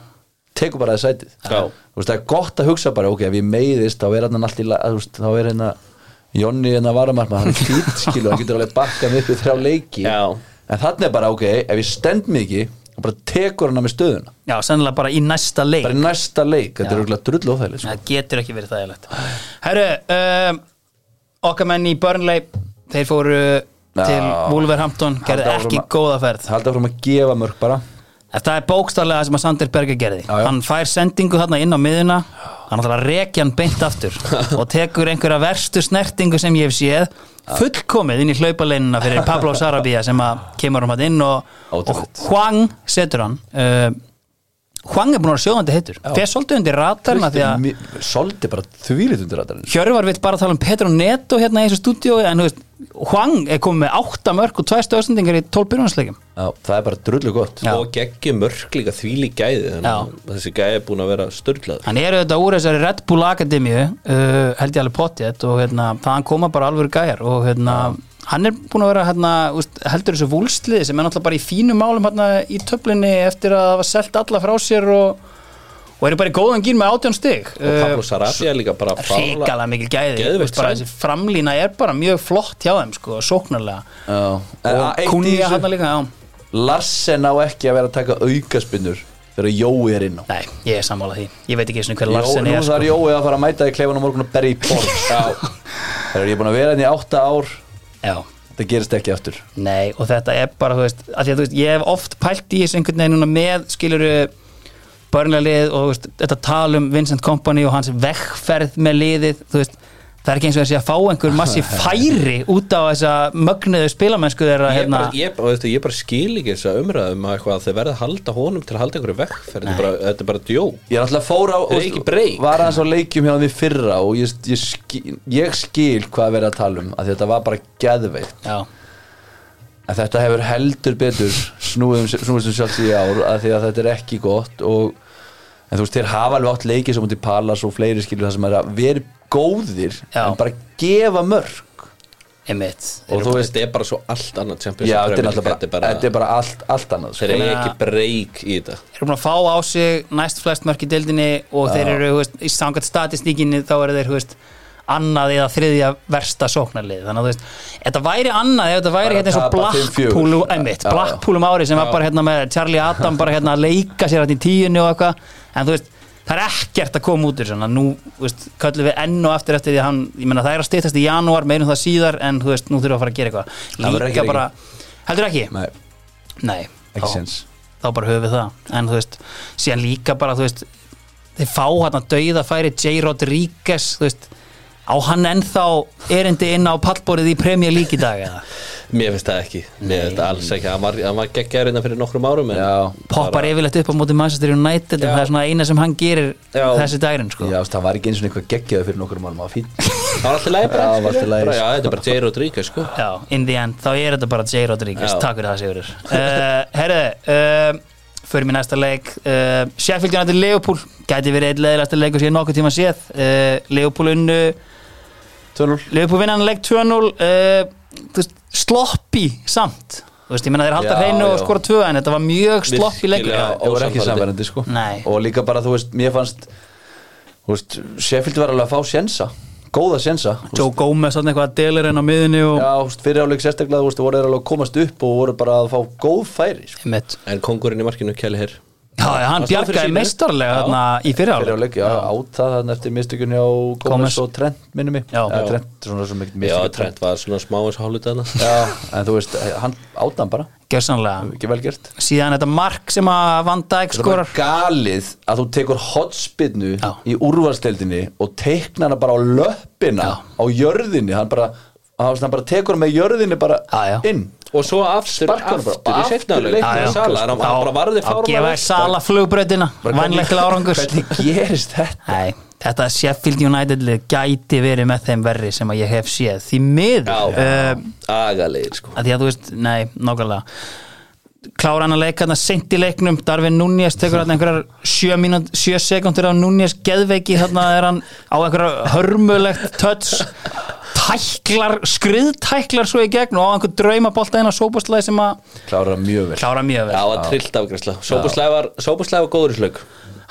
C: tekur bara það sætið
B: Já.
C: þú veist það er gott að hugsa bara ok ef ég meiðist þá er hann allt í la- þú veist, þá er hérna Jonni hérna varamarma hann er fýtt skilu hann getur alveg bakkað mig upp í þrjá leiki
B: Já.
C: en þannig er bara ok ef ég stend mig ekki og bara tekur hann með stöðuna
A: já, sennilega bara í næsta leik
C: bara í næsta leik þetta er auðvitað drullu óþægileg sko.
A: það getur ekki verið þægilegt herru, um, okkar menn í Burnley þeir fóru til Wolverhampton gerði
C: Halda áfram
A: ekki
C: að-
A: góða ferð
C: halda fram að gefa mörg bara
A: þetta er bókstarlega sem að Sander Berger gerði
C: Já, já.
A: hann fær sendingu þarna inn á miðuna hann ætlar að rekja hann beint aftur og tekur einhverja verstu snertingu sem ég hef séð fullkomið inn í hlaupaleinuna fyrir Pablo Sarabia sem að kemur um hann inn og, og
C: Ótrúlegt.
A: Hwang setur hann uh, Hwang er búin að vera sjóðandi heitur fer svolítið undir ratarna því að
C: soldi bara þvílit undir sko. rættarinn
A: Hjörvar vill bara tala um Petro Neto hérna í þessu stúdíói en þú veist, Hwang er komið með 8 mörg og 2 stöðsendingar í 12 byrjunarsleikum
C: það er bara drullu gott
A: Já.
B: og geggjum mörk líka þvíli gæði þannig að þessi gæði er búin að vera störlaður
A: Hann er auðvitað úr þessari Red Bull Akademíu uh, held ég alveg pottið og hérna, þaðan koma bara alvöru gæjar og hérna, hann er búin að vera hérna, úst, heldur þessu vúlsliði sem er náttúrulega bara í fínum málum hérna, í töflinni eftir að það var selt alla frá sér og, og eru bara í góðan gín með átjón stig
C: Eh,
B: og Pablo Sarabia líka bara
A: Ríkala
B: fárla-
A: mikil gæði
B: Geðveikt
A: Úst, bara,
B: sæt.
A: þessi framlína er bara mjög flott hjá þeim sko, sóknarlega
C: Já. En Eh, að-
A: og
C: eitt í
A: kunja
C: þessu-
A: hérna líka já.
C: Larsen á ekki að vera að taka aukaspinnur þegar Jói er inn á
A: Nei, ég er sammála því Ég veit ekki einu sinni hver
C: Jó,
A: Larsen
C: nú
A: er
C: þarf
A: sko.
C: Jói að fara að mæta í kleifan á morgun og berja í borg Þegar ég er búin að vera henni í átta ár
A: sko. Já
C: Þetta gerist ekki aftur
A: Nei, og þetta er bara, þú veist, að því að þú veist, ég hef oft pælt í þessu einhvern veginn núna með, skiluru, börnlega og þú veist, þetta tal um Vincent Kompany og hans vegferð með liðið, þú veist, það er ekki eins og þessi að fá einhver massi færi út á þessa mögnuðu spilamennsku þeirra,
B: Ég
A: hérna,
B: bara, ég, og veistu, ég bara skil ekki þess að umræðum að eitthvað að þeir verða að halda honum til að halda einhverju vekk þetta er bara, þetta er bara djó
C: Ég er alltaf fór á
B: Er ekki break?
C: Var aðeins á leikjum hjá því fyrra og ég, ég, skil, ég skil hvað verið að tala um að þetta var bara geðveikt
A: já,
C: En þetta hefur heldur betur snúið um snúið sem sjálfs í ár að því að þetta er ekki gott og en þú veist, þeir hafa alveg átt leikið sem múti Palas og fleiri skilur það sem er að vera góðir
A: Já.
C: en bara gefa mörg
A: einmitt,
C: og þú veist
B: þetta er bara svo allt annað Champions League
C: Já, þetta er
B: Premier
C: náttúrulega
B: League,
C: bara, þetta er bara allt, allt
B: þeir
C: annað sko.
B: eru
A: Meina-
B: ekki breyk í þetta
A: þeir eru búin að fá á sig næst flest mörk í deildinni og þeir eru, þú veist, í sangat statistíkinni þá eru þeir, þú veist, annað eða þriðja versta sóknarlið þannig að þú veist, þetta væri annað ef þetta væri
C: Bara
A: hérna eins og
C: tapa 5-4.
A: Blackpool einmitt,
C: Já, já.
A: Blackpool um árið sem var bara hérna með Charlie Adam bara hérna að leika sér hérna í tíunni og eitthvað, en þú veist það er ekkert að koma út úr svona nú, þú veist, köllum við enn og eftir eftir því að hann ég menna það er að styttast í janúar, meirum það síðar en þú veist, nú þurfum við að fara að gera
C: Það
A: eitthvað
C: verður ekki
A: líka
C: leikinn.
A: bara, heldur ekki?
C: Nei,
A: Nei,
C: ekki
A: þá-
C: séns.
A: þá bara höfum við það en þú veist, síðan líka bara þú veist, þeir fá hann að dauða færi J. Rodríguez þú veist, á hann ennþá erindi inn á pallborið í Premier League í dag eða
B: mér finnst það ekki, mér finnst það alls ekki hann var, hann var geggjær innan fyrir nokkrum árum en
C: Já.
A: poppar yfirleitt upp á móti Manchester United en
B: Já.
A: það er svona eina sem hann gerir
B: Já.
A: þessi dagurinn sko
C: Já, þú veist, það var ekki eins og eitthvað geggjaði fyrir nokkur málum að fín
B: það var alltaf læg
C: Já, það var allt í lagi,
B: bara, já,
C: sko.
B: þetta er bara J. Rodríguez sko
A: Já, in the end, þá er þetta bara J. Rodríguez,
B: Já.
A: takk fyrir það Sigurður uh, Eh, Herðu, uh, förum í næsta leik uh, Sheffield United Leopold gæti verið einn leðilegasta leikur sér nokkuð tíma séð uh, Leopold unnu
C: Tönul
A: Leopold vinnan leik 2-0 uh, þú veist, sloppy samt þú veist, ég menna þeir halda
C: Já,
A: hreinu og
C: já.
A: skora 2 en þetta var mjög sloppy leikur
B: Virkilega.
C: Það var ekki
B: Ósannfærandi.
C: samverðandi sko
A: Nei.
C: Og líka bara þú veist, mér fannst Þú veist, Sheffield var alveg að fá sjensa Góða sjensa Þú veist,
A: Joe Gomez svona eitthvað að delir henn á miðinni og
C: Já, þú veist, fyrir áleik sérstaklega, þú veist, voru þeir alveg að komast upp og voru bara að fá góð færi sko.
A: Einmitt.
B: En kongurinn í markinu kelli hér
A: Já, já, hann
B: Hann stóð fyrir
A: bjargaði
B: sínu.
A: meistarlega
B: Já.
A: þarna í
C: Fyrir
A: fyrirháleik
C: áleik, já, áta þann eftir mistökunni á
A: Gómez.
C: Gómez og Trent, minnum mig
A: Já.
C: Eða Trent, svona sem ekki
B: Já,
C: mistökunni
B: Trent var svona smá eins og hálfut aðna
C: Já, en þú veist, hann áta hann bara,
A: Gjörsanlega
C: ekki vel gert
A: Síðan þetta mark sem að Van Dijk
C: Það er
A: skorar
C: galið að þú tekur hotspinnu
A: Já.
C: í úrvalsteldinni og teiknar hana bara á löppina á jörðinni, hann bara hann hann bara tekur hann með jörðinni bara
A: Já, já.
C: inn
B: Og svo aftur,
C: Sparkar
B: aftur,
C: bara,
B: í
C: aftur
B: setnaðuleik
C: leiknum.
A: Já, já.
B: Sala, hann hann bara varði
A: Þá gefa þér
B: fárlega
A: Sala flugbröðina Vænlega til árangur
C: hvernig gerist þetta?
A: Nei, þetta Sheffield United lið gæti verið með þeim verri sem að ég hef séð Því miður
B: Já,
A: Eh,
B: agalegir sko
A: að Því að þú veist, nei, nákvæmlega Klára hann að leika hann að seint í leiknum Darvin Núñez tekur hann einhverjar sjö, mínút, sjö sekundur af Núñez geðveiki þarna er hann á einhverjar hörmulegt töts tæklar, skriðtæklar svo í gegn og á einhver draumabolta inn á sóbúslæði sem að
C: klára mjög vel
A: klára mjög
B: Já,
A: vel
B: var trillt afgræsla Sóbúslæði var góður í slögg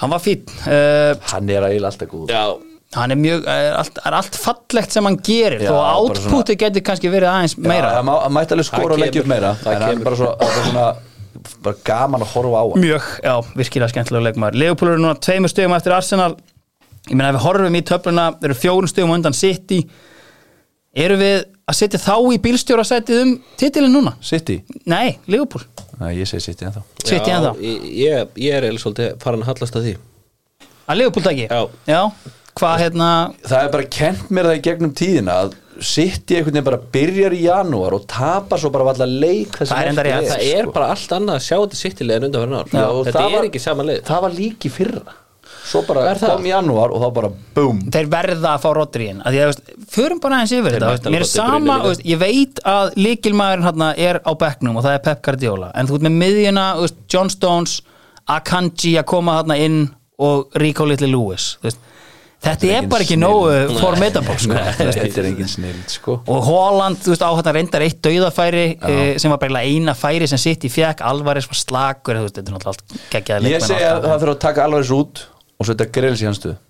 A: Hann var fín uh,
C: hann er eiginlega alltaf góð
B: Já,
A: hann er mjög, er allt, er allt fallegt sem hann gerir
C: Já,
A: þó að
C: bara svona-
A: átpúti geti kannski verið aðeins meira
C: hann má- hann mætti alveg skora og
B: Það
C: leggja upp
B: kemur.
C: meira
B: Það
C: en hann
B: kemur.
C: bara svo- það er svona bara gaman að horfa á hann
A: mjög, já, virkilega skemmtilega leikmaður Leopold eru núna tveimur stegum eftir Arsenal ég meina ef við horfum í töfluna þeir eru fjórun stegum undan City eru við að setja þá í bílstjórasætið um titilin núna?
C: City,
A: Nei, Leopold
C: Nei, ég segi City ennþá
A: City en þá,
B: ég, ég- ég er eða svolítið farin að hallast að því
A: að Leopold ekki
B: Já.
A: hvað hérna
C: það er bara kent mér það í gegnum tíðina að City einhvern veginn bara byrjar í janúar og tapar svo bara valla leik þessi
A: Það er enda
C: eftir
A: rétt.
C: er,
B: Það er bara allt annað að sjá þetta sittilega en undanverðin ár
C: sko. Já, og
B: Þetta
C: það
B: er
C: var-
B: ekki sama leið
C: það var líki fyrra svo bara
B: Er það?
C: kom í janúar og þá bara boom
A: þeir verða að fá Rodríin að því að, veist, förum bara aðeins yfir þetta
B: mættu
A: veist, mér
B: alveg
A: er
B: Rodri í
A: sama,
B: byrjun líka.
A: veist, ég veit að líkilmaðurinn hérna er á bekknum og það er Pep Guardiola en þú ert með miðjuna, veist, John Stones Akanji að koma hérna inn og Rico Little Lewis þú veist, þetta er
C: engin
A: bara ekki
C: snill.
A: nógu formidable sko, þú veist.
C: þetta er engin snild sko
A: og Holland, þú veist, á hérna reyndar eitt dauðafæri eh, sem var bara eiginlega eina færi sem sitt í fjekk, Alvarez var slakur þú veist, þetta er náttúrulega allt geggjaði
C: ég
A: leikmenn
C: segi
A: og
C: að
A: allt
C: það þurfa að taka alveg þessu út og setja grills í hans stuð
A: það.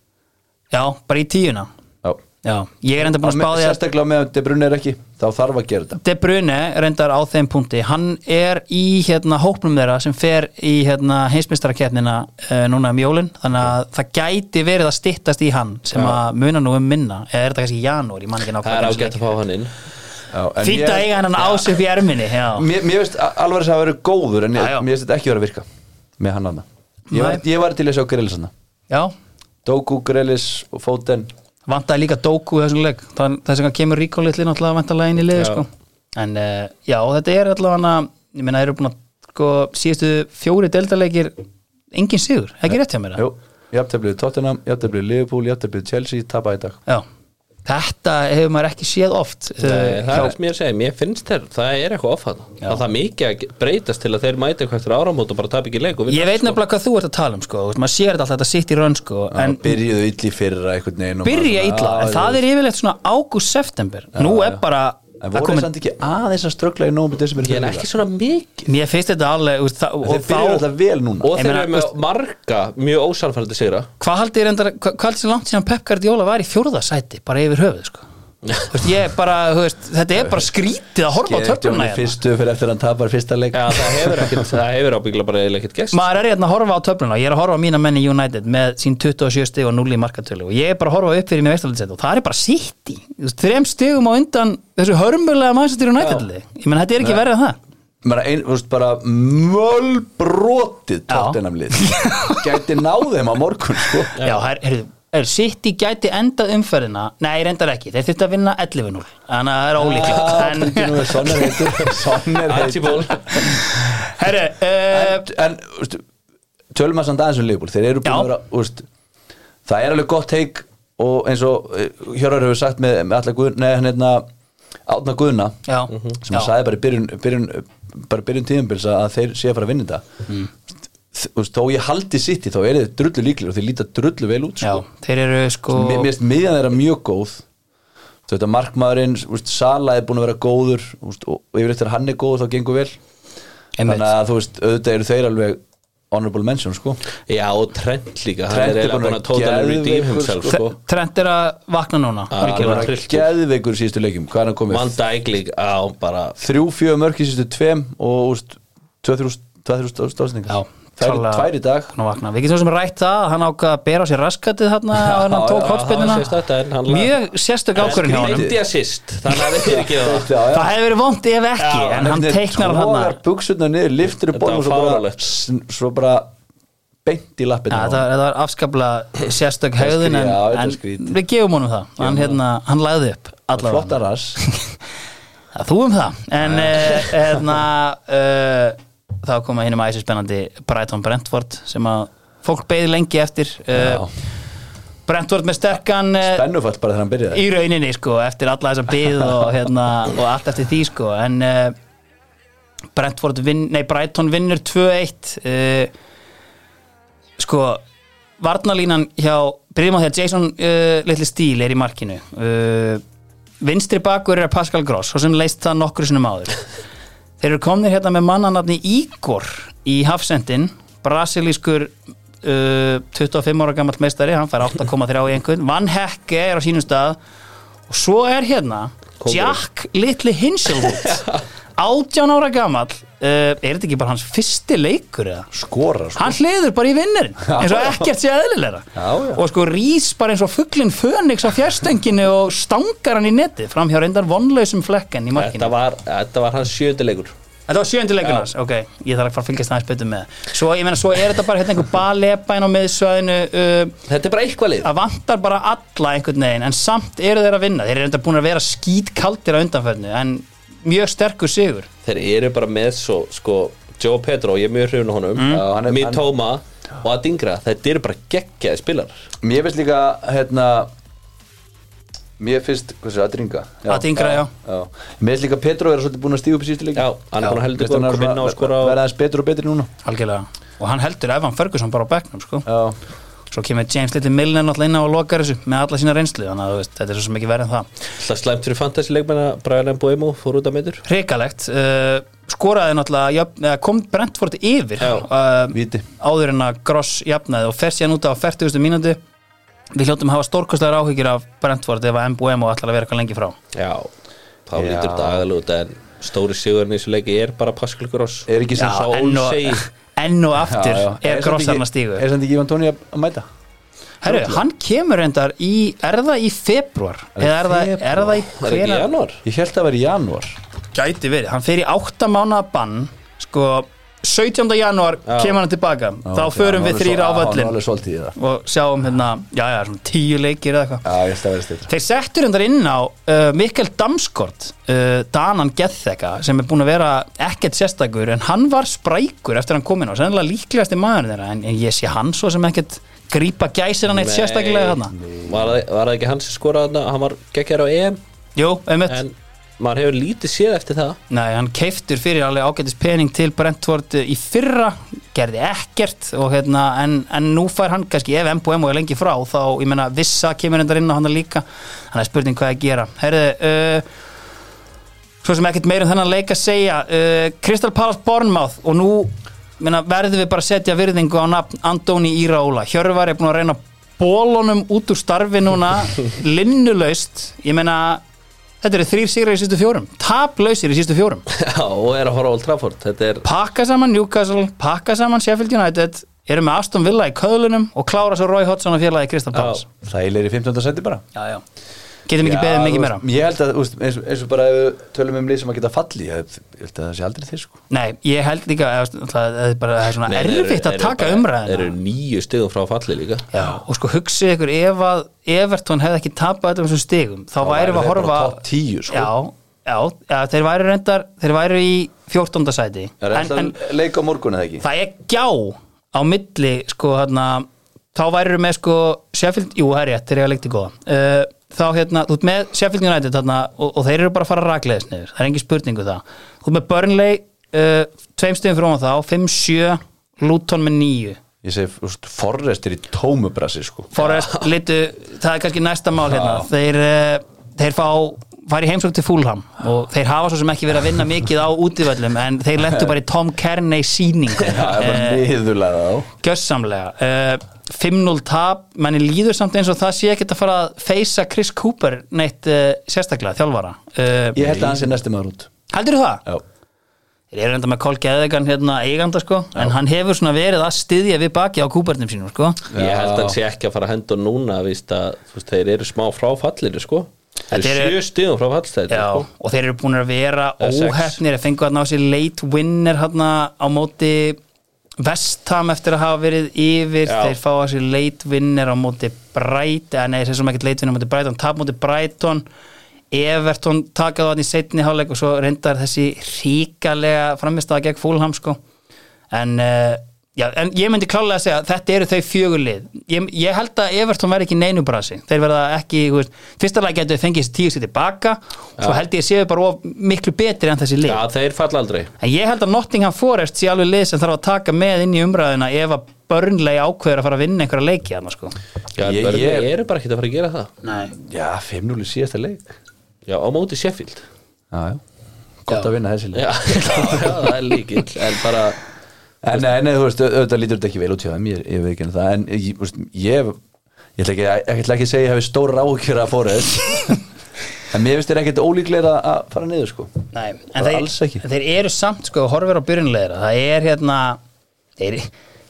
A: já, bara í tíuna
C: Já.
A: já, ég er enda búin að spá því að
C: sérstaklega meðan De Bruyne er ekki þá þarf að gera þetta
A: De Bruyne reyndar á þeim punkti hann er í hérna hópnum þeirra sem fer í hérna heimsmyndstarakeppnina uh, núna um jólin þannig að það gæti verið að stittast í hann sem að muna nú um minna eða er þetta kannski í janúar, ég man ekki
B: Það er
A: nákvæmlega
B: ágætt að fá hann inn
C: Já, en
A: fýnt
C: ég-
A: að eiga hennan ás upp í erminni já.
C: Mér, mér veist alveg þess að það verið góður en ég,
A: Já, já.
C: mér veist þetta ekki verið að virka með hann aðna ég,
A: Nei.
C: var- ég var til að sjá grillis aðna
A: já,
C: Doku, grillis og Foden
A: vantaði líka Doku í þessum leik, Þann- þess að kemur Ríkó litli náttúrulega vantalega inn í liði
B: Já.
A: sko. en uh, já, þetta er allavega hann ég meina, eru búin að sko, síðustu fjóri deltaleikir, engin sigur ekki rétt hjá mér það?
C: Jú, jafnteflið Tottenham, jafnteflið Liverpool, jafnteflið Chelsea tapa í dag
A: Já, þetta hefur maður ekki séð oft
B: Nei,
A: eh,
B: það
A: hjá-
B: er það sem ég er að segja, mér finnst þér það er eitthvað offað,
A: Já.
B: að það er mikið að breytast til að þeir mæti eitthvað eftir áramót og bara tap ekki leik og vinna
A: Ég veit
B: sko.
A: nefnilega hvað þú ert að tala um sko. Þú veist, maður sér þetta alltaf þetta sitt í raun sko. en
C: Byrjuðu illi fyrir einhvern veginn og
A: byrja
C: maður svona,
A: illa
C: já,
A: en það er yfirleitt svona ágúst-september nú er bara
C: En
A: það
C: voru
A: komin-
C: komin... samt ekki aðeins að ströggla í nómi sem er
B: Ég er ekki svona mikið
A: mér finnst þetta alveg úr, það,
C: Þeir
A: og
C: byrjuðu
A: þá,
C: alltaf vel núna
B: og
A: Ég
B: þeir
A: meina,
B: eru með marga mjög ósannfærandi sigra
A: hvað haldið er endar hvað haldið sér langt síðan Pep Guardiola var í fjórðasæti bara yfir höfuð sko. Þú veist, ég bara, þú veist, þetta er bara skrítið að horfa á töfluna
C: Johnny
A: hérna.
C: fyrstu fyrir eftir að hann tapar fyrsta leik
B: Já, það hefur ekkert, það hefur ábyggla bara eiginlega ekkert gest
A: maður er hérna að horfa á töfluna og ég er að horfa á mína menni United með sín 27 stig og 0 í markatölu og ég er bara að horfa upp fyrir mér veistaldinsett og það er bara City Þú veist, þrem stigum á undan þessu hörmulega mannsættir United liði. ég menn þetta er ekki verið að það
C: Bara ein, þú veist, bara mölbrotið Tottenham lið Gæti náð þeim á morgun sko.
A: já, já her, her, her, City gæti endað umferðina nei, reyndar ekki, þeir þurft að vinna 11-0 þannig að það er ólíklegt en,
C: Sonner heitur Sonner heitur
B: Archibald,
A: herru, uh,
C: en, en úst, tölum að samt aðeins um Leopold þeir eru búin
A: Já.
C: að vera úst, það er alveg gott teik og eins og eh, Hjörvar hefur sagt með, með alla guðna nei, hann hérna Átna Guðna
A: Já.
C: sem
A: Já. Mhm.
C: hann sagði bara í byrjun, byrjun bara í byrjun tíðumbils að þeir sé að fara að vinna þetta þ- þú veist, þó ég haldi sitt í þá er þið drullu líklir og þeir líta drullu vel út
A: Já,
C: sko.
A: þeir eru sko
C: Mér mér finnst miðjan þeirra mjög góð Þú veist að markmaðurinn, þú veist, Sala er búin að vera góður þú veist, og yfir eftir hann er góður þá gengur vel
A: Einmitt.
C: Þannig að þú veist, auðvitað eru þeir alveg honorable mention sko
B: Já, og Trent líka,
C: Trent
B: hann er
C: er
B: eiginlega
C: búinn
B: búin
C: að
B: að totally
C: geðveikur,
B: redeem himself
C: sko.
B: sko.
A: Trent er að vakna núna
B: Já,
C: Hann
A: virkilega.
C: var
B: trilltur.
C: geðveikur í síðustu leikjum, hvað er hann komið?
B: Van Dijk líka, á bara
C: Þrjú, fjö mörk í síðustu tveim og úst, 2000 stafsningar
A: Já,
C: Það eru
A: klálega
C: tvær í dag
A: búinn að vakna. Við getum svo sem rætt það að hann ákvað að bera á sér raskatið þarna og hann
C: já,
A: tók
B: já, það var sérstakt,
A: hotspinnina
B: en hann-
A: Mjög sérstök ákvörðin hjá honum
B: Grindi assist, þannig að þetta er ekki það
C: Já, já.
A: Það hefði verið vond ef ekki
B: Já,
A: en hann teiknar hann
C: Tógar
A: þarna
C: buksutna niður, liftir
B: Þetta
C: upp bólum
B: var
C: og svo bara,
B: fáránlegt.
C: sn- svo bara beint í
A: Já,
C: lappinu á
A: þetta var- þetta var afskaplega sérstök
C: er
A: hegðun en,
C: skrítið, já, þetta er
A: en
C: skrítið.
A: við gefum honum það hann, hérna, hann lagði upp
C: honum.
A: allavega
C: Flottar hans
A: Það þú um það En eh, hérna uh, Þá koma hinum æsir spennandi Brighton Brentford sem að fólk beði lengi eftir uh, Brentford með sterkan uh,
C: Bennufall bara þegar hann byrjaði
A: í rauninni sko eftir alla þessa bið og, hérna, og allt eftir því sko en uh, Brentford vinn, nei Brighton vinnur 2-1 uh, sko varnalínan hjá byrjum á því að Jason uh, litli stíl er í markinu uh, vinstri bakur er Pascal Gross svo sem leist það nokkur sinum áður þeir eru komnir hérna með mannanatni Ígor í hafsendin brasilískur uh, 25 ára gammalt meistari hann fær 8,3 í einhvern Van Hekke er á sínum stað og svo er hérna
B: Kóngurinn.
A: Jack Little Hinshelwood 18 ára gammal uh, er þetta ekki bara hans fyrsti leikur eða?
C: Skora sko
A: hann hliður bara í vinnurinn eins og ekkert sé eðlilega
C: Já, já.
A: og sko rís bara eins og fugglinn fönix á fjärstönginni og stangar hann í netið fram hjá reyndar vonlausum flekken í markinu
B: Þetta var, þetta var hans sjöðuleikur
A: Þetta var sjöndi leikurinn hans, ok, ég þarf að fara að fylgjast aðeins betur með það. Svo, ég meina, svo er þetta bara hérna einhver balepa inn á miðsvæðinu uh,
B: Þetta er bara eitthvað lið
A: að vantar bara alla einhvern veginn, en samt eru þeir að vinna þeir eru enda búin að vera skítkaldir á undanförnu en mjög sterkur sigur
B: Þeir eru bara með svo, sko Joe Pedro, ég er mjög hrifun á honum mm.
C: Já, hann er- hann-
B: Mitoma og Adingra Þetta eru bara geggjaði spilar
C: Mér finnst líka, hérna Mér finnst, hvað sér, Adringa
A: Adingra, já.
C: Mér finnst líka Petro er svolítið búin að stíða upp í síðustu leik
B: Já, hann er búinn að heldur góð, kom inn á og skora og-
C: Verða aðeins betur og betur núna
A: algjörlega, og hann heldur Evan Ferguson bara á bekknum, sko
C: Já,
A: svo kemur James Little Milner náttúrulega inn á og lokar þessu með alla sína reynslu, þannig að þú veist, þetta er svo sem ekki verið en það
B: Það slæmt fyrir fantasy leikmenn að Brian Boemo fór út að meitur
A: hrikalegt, uh, skoraði náttúrulega jöfn, eða kom Brentford yfir uh,
B: Já,
C: víti.
A: áður en að Gross jafnaði og fer síðan út á 40. mínútu við hljóttum að hafa stórkostlegar áhyggjur af Brentford ef að MBM og allar að vera eitthvað lengi frá
B: Já, þá
C: Já.
B: lítur þetta aðal út en stóri sigurinn í þessu leiki er bara Pascal Gross
C: er ekki sem
B: Já,
C: sá
B: en-
A: enn og,
B: Olsey.
A: enn og aftur
C: Já, já.
A: er
C: samt
A: Gross
C: ekki-
A: þarna stígur
C: Er samt ekki Ivan Tóni að mæta?
A: Herru, hann kemur reyndar í, er það í februar? Eða er það, er það í
B: Það er ekki í
A: hvenær-
B: janúar
C: Ég held að vera í janúar
A: gæti verið, hann fer í 8 mánuða bann sko 17. janúar kemur hann tilbaka þá förum við þrýra á
C: Hann er
A: völlin
C: alveg svolítið í það
A: og sjáum hérna, já já, svona 10 leikir eða eitthvað
C: Já, ég held að vera stiltur
A: Þeir settur undar inn á uh, Mikkel Damskort, uh, Danan Getheka sem er búin að vera ekkert sérstakur en hann var sprækur eftir hann komin á sennilega líklegasti maður þeirra en, en ég sé hann svo sem ekkert grípa gæsir hann eitt
B: Nei.
A: sérstaklega þarna
B: Var það- var það ekki hans sem skoraði þarna Hann var geggjar á EM
A: Jú, einmitt
B: En maður hefur lítið séð eftir það
A: Nei, hann keiftur fyrir alveg ágætis pening til Brentford í fyrra gerði ekkert og hérna en, en nú fær hann kannski ef MBM er lengi frá þá, ég meina, vissa kemur endar inn á hann líka, þannig að spurning hvað að gera Herði, uh, svo sem ekkert meir um þennan leik að segja uh, Crystal Palace Bournemouth og nú meina, verðum við bara að setja virðingu á nafn Andóni Íraóla Hjörvar er búin að reyna bólunum út úr starfi núna linnulaust, ég meina Þetta eru þrýr sigrar í sístu fjórum Taplausir í sístu fjórum
B: Já, og er að horfa á Old Trafford Þetta er
A: Pakka saman Newcastle, pakka saman Sheffield United Eru með Aston Villa í köðlunum Og klára svo Roy Hodgson og félagi Kristal Palace
C: Þægilegir í 15. sendi bara
A: Já, já Getum ekki
C: Já,
A: beðið um
C: þú
A: mikið meira
C: veist, Ég held að, þú veist, eins, eins og bara ef við tölum um lið sem að geta falli Ég ég held að það sé aldrei þeir sko
A: Nei, ég held líka eða, Það það er bara það er svona
B: Nei, þeir eru-
A: erfitt
B: þeir
A: að
B: eru
A: taka
B: bara- Þeir
A: umræðina
B: eru nýju stigum frá falli líka
A: Já, og sko hugsið ykkur ef að Everton hefði ekki tapað öllum þessum stigum þá væri við að
C: væru þeir
A: horfa
C: bara topp 10, sko.
A: Já, já, já, þeir væri reyndar þeir væri í 14. sæti
C: Það er
A: En- en-
C: alltaf leik á morgun eða ekki
A: það er gjá á milli sko hérna þá værirðu með sko Sheffield, jú það er rétt þeir eru að leikti góða uh, þá hérna, þú ert með Sheffield United þarna og, og þeir eru bara að fara rakleiðis um niður, það er engin spurningu það þú ert með Burnley uh, tveim stöðum frá þá, 5-7 Luton með níu
C: ég segi, þú veist, Forrest er í tómubrassi sko.
A: Forrest litu, það er kannski næsta mál hérna þeir, eh, þeir fá fari heimsók til Fulham og þeir hafa svo sem ekki verið að vinna mikið á útivöllum en þeir lentu bara í Tom Kearney sýningu
C: það er bara niðurlega á
A: gjössamlega uh, 5-0 tap, manni líður samt eins og það sé ekkert að fara að feysa Chris Cooper neitt uh, sérstaklega, þjálfara uh,
C: ég held að hans er næsti maður út
A: heldur það?
C: já,
A: Þeir eru enda með Kól Geðegan hérna eiganda sko, en hann hefur svona verið að styðja við baki á Coopernum sínum sko
B: Ég held að hann sé ekki að fara að henda honum núna víst að þú veist, þeir eru smá frá fallinu sko. Þeir
A: Þetta
B: eru
A: eru-
B: sjö stíðum frá fallstæði
A: Já,
B: sko.
A: og þeir eru búin að vera
B: Eða sex.
A: óhefnir að fengu að ná sér late winner hérna á móti Vestham eftir að hafa verið yfir
B: Já.
A: þeir fá að sér late winner á móti Bright, eða nei, þessum ekkert late winner á móti Brighton, tap móti Brighton Everton takaði hann í setni hálfleik og svo reyndar þessi ríkalega framistaða gegn Fulham sko en, uh, já, en ég myndi klálega að segja að þetta eru þau fjögurlið ég, ég held að Everton verði ekki í neinu brasi þeir verða ekki, þú veist, fyrsta lag getur fengið þessi tíu sér tilbaka svo held ég að séu bara of miklu betri en þessi lið
B: Já, þeir falla aldrei
A: en ég held að Nottingham Forest sé alveg lið sem þarf að taka með inn í umræðina ef að börnlegi ákveður að fara að vinna einhverja leiki þarna sko
B: Já,
C: Ég-
B: ég, ég,
C: ég-
B: eru bara ekki að fara að gera það
A: Nei.
C: já 5-0 í síðasta leik
B: Já, á móti Sheffield
C: já, já. gott að vinna þessi leik
B: Já, já, já það er líkill En bara,
C: En, nei, nei, þú veist, au- auðvitað lítur þetta ekki vel út hjá þeim, ég, ég veit ekki en það, en ég, þú veist, ég, ég ætla ekki, ég ætla ekki að segja að ég hefði stóra áhyggjur að fóra þess, en mér finnst þér ekkert ólíklega að fara niður, sko.
A: Nei, en
C: Bara alls
A: þeir,
C: ekki.
A: þeir eru samt sko, horfir á byrjunleira, það er hérna þeir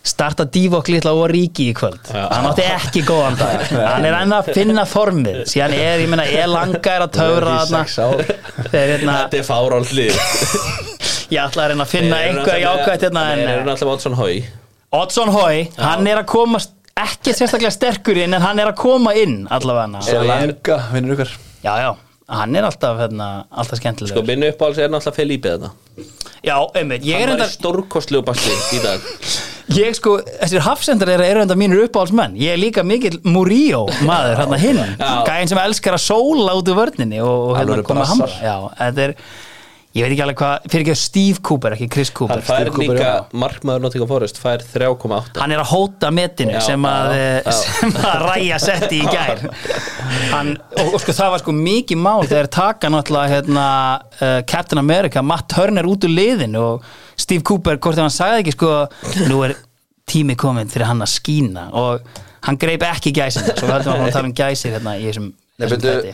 A: starta divok litla og ríki í kvöld, hann átti ekki góðan dag, hann er enn að finna formið, síðan er, ég meina, elanga er að töfra
C: Hann
A: þarna,
C: er í sex ár.
A: þeir hérna
B: þetta er fárál lið
A: ég ætla að reyna að finna einhver jákvætt hérna
B: Þeir
A: en
B: eru náttúrulega Oddsson Hói
A: Oddsson Hói, hann er að koma ekki sérstaklega sterkur inn en hann er að koma inn allavega
C: Svo
A: hann,
C: ég enga, vinnur ykkar.
A: já, já, hann er alltaf hérna, alltaf skemmtilegur,
B: Sko, minn uppáhalds er náttúrulega Felipe þetta
A: já, einmitt, ég er
B: Hann var
A: enda
B: í stórkostlegu basli í dag
A: Ég sko, þessir hafsendar eru eru enda mínir uppáhaldsmenn Ég er líka mikill Murillo maður hérna hinn
B: Já.
A: Gæinn sem elskar að sóla út úr vörninni og, og hérna
C: Alvöru
A: koma að hamra
C: brassar.
A: Já, þetta er, ég veit ekki alveg hvað fyrir ekki að Steve Cooper, ekki Chris
B: Hann
A: Cooper
B: fær
C: Steve Cooper,
B: líka,
C: já.
B: markmaður Nottingham Forest fær 3,8
A: Hann er að hóta metinu
B: Já,
A: sem að, eh,
B: já, já.
A: sem að ræja setti í gær Hann, og, og sko það var sko mikið mál þegar taka náttúrulega hérna, uh, Captain America, Matt Turner út úr liðin og Steve Cooper, hvort ef hann sagði ekki sko, nú er tími komin fyrir hann að skína og hann greip ekki gæsin, svo við höldum að hann tala um gæsir hérna í þessum,
C: Nei,
A: þessum
C: byrju.
A: þætti.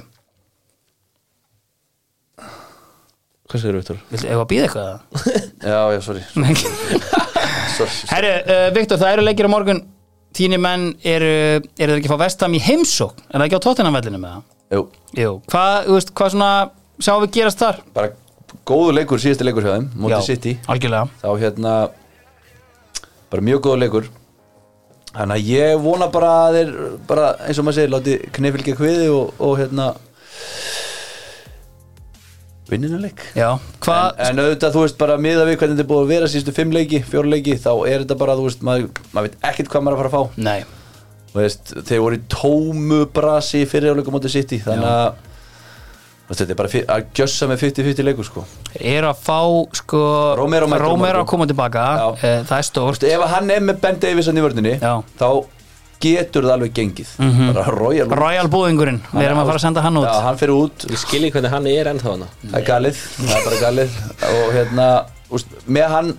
B: Hvað segir Viktor?
A: Viltu, ef að býða eitthvað að það?
C: Já, já, sorry, sorry.
A: Herru, uh, Viktor, það eru leikir á morgun Tíni menn eru, eru þeir ekki að fá vestam í heimsók Er það ekki á tóttinanvellinu með það?
C: Jú,
A: Jú, hvað, þú veist, hvað svona sjáum við gerast þar?
C: bara góðu leikur, síðasti leikur hjá þeim,
A: Já,
C: mótið City.
A: Algjörlega
C: þá hérna bara mjög góða leikur þannig að ég vona bara að þeir bara eins og maður segir, láti knefylgja kviði og, og hérna vinnina leik
A: Já, hvað,
C: en, en auðvitað þú veist bara miða við hvernig þetta er búið að vera síðustu fimm leiki, fjóra leiki þá er þetta bara, þú veist, maður, maður veit ekkert hvað maður er að fara að fá
A: nei
C: Þú veist, þeir voru í tómu brasi fyrir áleikum átti City þannig að þú veist, þetta er bara fi- að gjössa með 50-50 leikur sko
A: Þeir eru að fá, sko
C: Romero mætir á
A: Romero
C: morgun.
A: að koma tilbaka
C: Já.
A: eh, Það er stórt
C: Þú veist, ef hann er með Ben Davis hann í vörninni
A: Já.
C: þá getur það alveg gengið bara royal út.
A: Royal búðingurinn, við erum að fara að senda hann út
C: já, hann fyrir út,
B: Ég skil ekki hvernig hann er ennþá hana
C: það er galið það er bara galið og hérna úst, með hann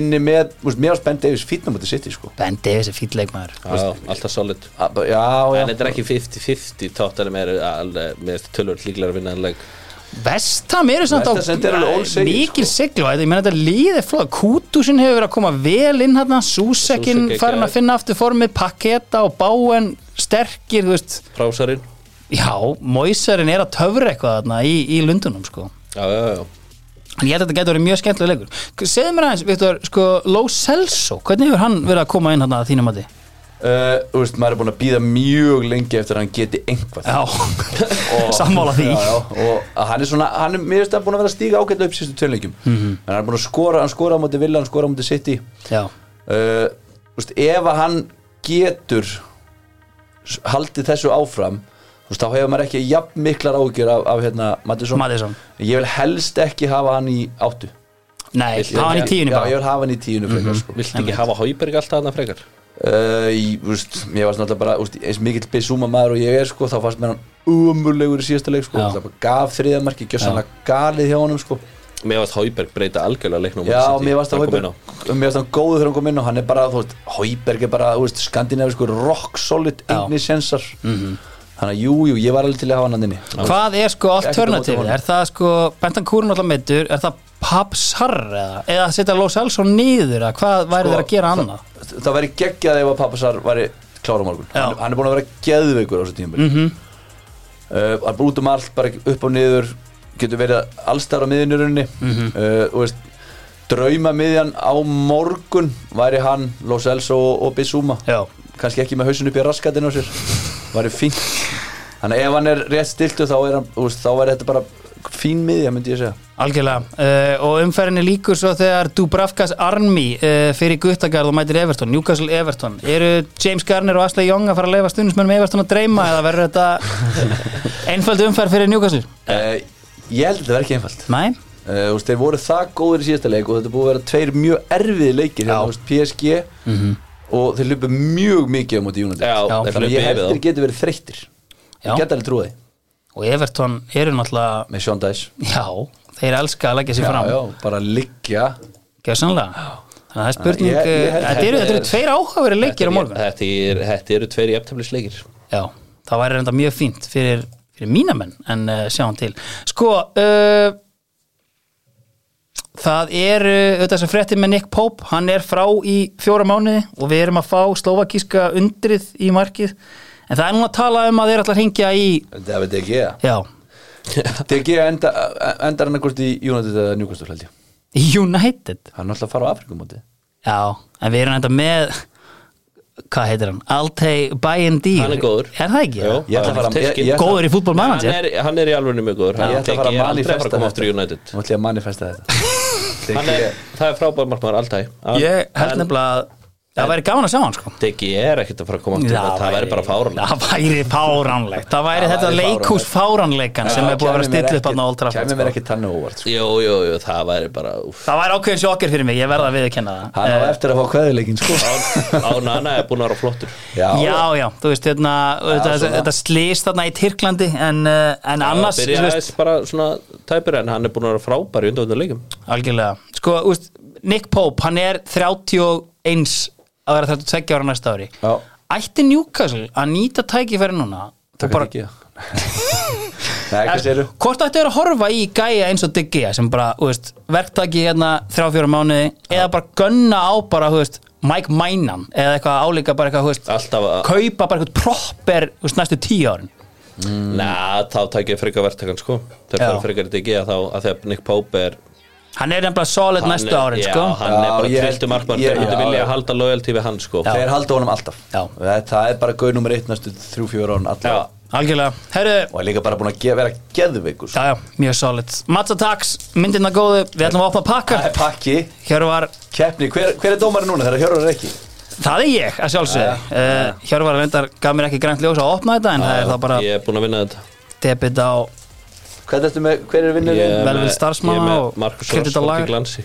C: inni með úst, mér ást Ben Davis fýtna mútið sitt í sko
A: Ben Davis er fýll leikmaður
B: Já, alltaf solid
C: Að bara- já, já,
B: En þetta er ekki 50-50 Tottenham eru alveg með tölvöld líklar að vinna en leik
A: Vestam eru samt á
C: West Ham samt er alveg all sigri,
A: mikil
C: sko.
A: sigluvæð, ég menn þetta líði flóð Kútusinn hefur verið að koma vel inn hérna Súsekinn
B: Susek
A: farin
B: er
A: að
B: geðveikur.
A: finna aftur formið Paketa og Báen sterkir, þú veist
B: Frásarinn
A: Já, Moisarinn er að töfra eitthvað þarna í, í lundunum, sko
B: Já, já, já
A: En ég held að þetta getur verið mjög skemmtilega leikur Segðu mér aðeins, Viktor, sko, Ló Celso Hvernig hefur hann verið að koma inn hérna að þínum mati?
C: Uh, úst, maður er búin að býða mjög lengi eftir að hann geti einhvað
A: Já,
C: Og-
A: sammála því
C: já, já, og að hann er svona, hann er mér finnst að búin að vera að stíga ágætlega upp sístu tölleikjum mm
A: Mhm.
C: -hmm. en hann er búin að skora, hann skora á móti Villa, hann skora á móti City
A: Já,
C: uh, úst, ef að hann getur s- haldið þessu áfram úst, þá hefur maður ekki jafn miklar ágjur af, af hérna, Mattisson
A: Maddison.
C: ég vil helst ekki hafa hann í áttu
A: Nei,
B: Viltu
A: hafa hann í
B: ekki-
A: tíunni
C: Já, ég
A: bara Mhm.
C: vil hafa hann í tíunni frekar sko.
B: Viltu ekki hafa Hauberg alltaf annað frekar?
C: uh, í, úst, Ég var náttúrulega bara úst, eins mikill Bissúma maður og ég er sko, þá fannst mér hann umurlegur í síðasta leik sko.
A: Já.
C: Það bara gaf þriðamarki, gjössanlega galið hjá honum sko.
B: Mér varst Hauberg breyta algjörlega leiknum á
C: Já,
B: Man City.
C: mér varst það
B: Hann kom
C: Hauberg
B: inn á.
C: Mér varst hann góður þegar hann kom inn og hann er bara, þú veist, Hauberg er bara, þú veist, skandinavisku rock solid,
A: Já.
C: eigni sensar Þannig að jú, jú, ég var alveg til að hafa hann hann inni
A: Hvað er sko alternative?
C: honum.
A: Er það sko Bentan Kúrun alltaf meittur, er það Papsar eða, eða að setja Los Elson nýður eða hvað væri
C: Sko,
A: þeir að gera annað?
C: Það væri geggjað ef að pappasar væri klára morgun
A: Já.
C: hann, hann er búin að vera geðveikur á þessu tíma mm -hmm. uh, Hann er búin út um allt, bara upp og niður Getur verið allstar á miðinurunni mm -hmm. uh, og veist, Drauma miðjan á morgun væri hann, Los Elso og, og Bissúma
A: Já,
C: kannski ekki með hausin upp í raskatinn á sér var ég fín þannig að ef hann er rétt stiltu þá er, hann, úst, þá er þetta bara fín miðja myndi ég segja
A: algjörlega. Uh, og umferðinni líkur svo þegar Dubravkas Army uh, fyrir Guttagarð og mætir Everton, Newcastle Everton. Eru James Garner og Ashley Young að fara að leifa stundismennum Everton að dreyma eða verður þetta einföld umferð fyrir Newcastle?
C: uh, ég held að þetta verði ekki einfalt
A: Nei?
C: uh, úst, þeir voru það góður í síðasta leik og þetta er búið að vera tveir mjög erfiði leikir hérna, úst, PSG og þeir lupu mjög mikið á móti United
B: Mhm. Já,
A: Já.
B: þeir
C: þannig að
B: hlupu
C: ég held
B: yfir
C: þeir geti verið þreyttir
A: Já.
C: ég get alveg trúið
A: Og Everton eru náttúrulega,
C: með Sean Dice
A: já, þeir elska að leggja sér fram.
C: já, já, bara liggja
A: Gjörsanlega Þannig að það er spurning eh,
C: Ég- ég held-
A: Þetta eru, þetta eru
B: þetta er-
A: tveir áhugaveri
B: þá
A: leikir á morgun
B: Þetta er- þetta eru tveir jæfteflisleikir
A: Já, það væri reynda mjög fínt fyrir, fyrir mína menn en uh, sjáum til Sko uh, Það eru auðvitað sem fréttir með Nick Pope hann er frá í fjóra mánuði og við erum að fá slóvakíska undrið í markið en það er núna að tala um að þeir ætla að hringja í
C: þetta er DG
A: Já,
C: DG enda, endar hann ekkert í United eða Newcastle held ég
A: í United
C: hann er alltaf að fara á Afrikumóti
A: Já, en við erum reynda með hvað heitir hann? Altay Bayindir
B: Hann er góður.
A: Er það ekki?
B: Jú,
C: Ég ætla að fara-
B: hann er
C: ég-
B: tilskinn.
C: ég ætla-
A: góður í
B: hann,
A: fútbolmanager
B: er, hann er í alveg mjög góður hann
C: Ég ætla að fara að
B: er aldrei að fara að
C: manifesta
B: koma aftur í
C: þetta.
B: United
C: Nú ætla ég að manifesta þetta
B: Hann er, það er frábær markmaður alltaf
A: Ég held nefnilega að það væri gaman að sjá hann sko
B: Degi er ekkert að fara að koma aftur í United það væri bara fárlega
A: Það væri fáránlegt Það væri
C: Það
A: þetta
C: væri fáránlegt.
A: leikús fáránleikan sem er búið að vera stilla upp hann á Old Trafford
C: Kæmi mér
A: sko.
C: ekki tannu óvart sko.
B: jú, jú, jú, það væri bara úff.
A: Það væri ákveðin sjokkir fyrir mig, ég verða að viðurkenna
C: Hann
A: það
C: á
A: Eh,
C: eftir að fá kveðuleikin sko
B: Án- án Anna er búin að vera flottur
A: Já, já, þú veist, hérna, þetta,
C: svona.
A: þetta slýst þarna í Tyrklandi en, eh, en annars,
B: Það
A: þú
B: byrja
A: veist,
B: aðeins bara svona tæpur en hann er búin að vera frábær í undanvöndu leikum
A: Algjörlega, sko, úst, Nick Pope hann er 31 að vera 32 ára næsta ári
C: Já.
A: Ætti Newcastle að nýta tækifæri núna og
C: Takk
A: bara,
C: ekki Nei, hvað séru?
A: hvort ætti að vera að horfa í gæja eins og Diggi sem bara, þú veist, verktaki hérna 3-4 mánuði eða bara gönna á bara, þú veist, Mike Minnan eða eitthvað álíka bara eitthvað, þú veist
B: Alltaf að,
A: kaupa bara eitthvað proper, þú veist, næstu 10 árin
B: na, þá tækja frekar verktakann sko Þeir
A: Mm. Já.
B: fara frekar í Degi að þá að þegar Nick Pope er
A: Hann er nefnilega solid
B: hann
A: næstu
B: er-
A: árin,
B: já,
A: sko
B: hann er
C: Já,
B: bara
C: ég-
B: trilltu markmaður
C: ég-
B: Þeir myndi
C: já,
B: vilja
C: já.
B: halda loyalty við hann sko
C: Þeir halda honum alltaf Eh,
A: Já.
C: Það er bara gauð nummer eitt næstu þrjú, fjör án alltaf
B: Já.
A: Algjörlega, herru,
C: Og er líka bara búin að ge- vera geðveikur sko.
A: Já, já, mjög solid Mats Attacks, myndina góðu, við ætlum að opna pakka
C: Það er Eh, pakki
A: Hjörvar,
C: Keppni, hver, hver er dómarinn núna? Það er Hjörvar ekki
A: það er ég að sjálfsögðu uh, Hjörvar reyndar gaf mér ekki grænt ljós að opna þetta en það er það bara
B: Ég er búin að vinna þetta
A: debit á
C: Hvað er þetta með, hver er vinnur?
B: Ég er
A: Velvild
B: með-
A: starfsmanna
B: ég er með
A: og
B: Marcus
A: kredit á
B: Rashford
A: lag.
B: í glansi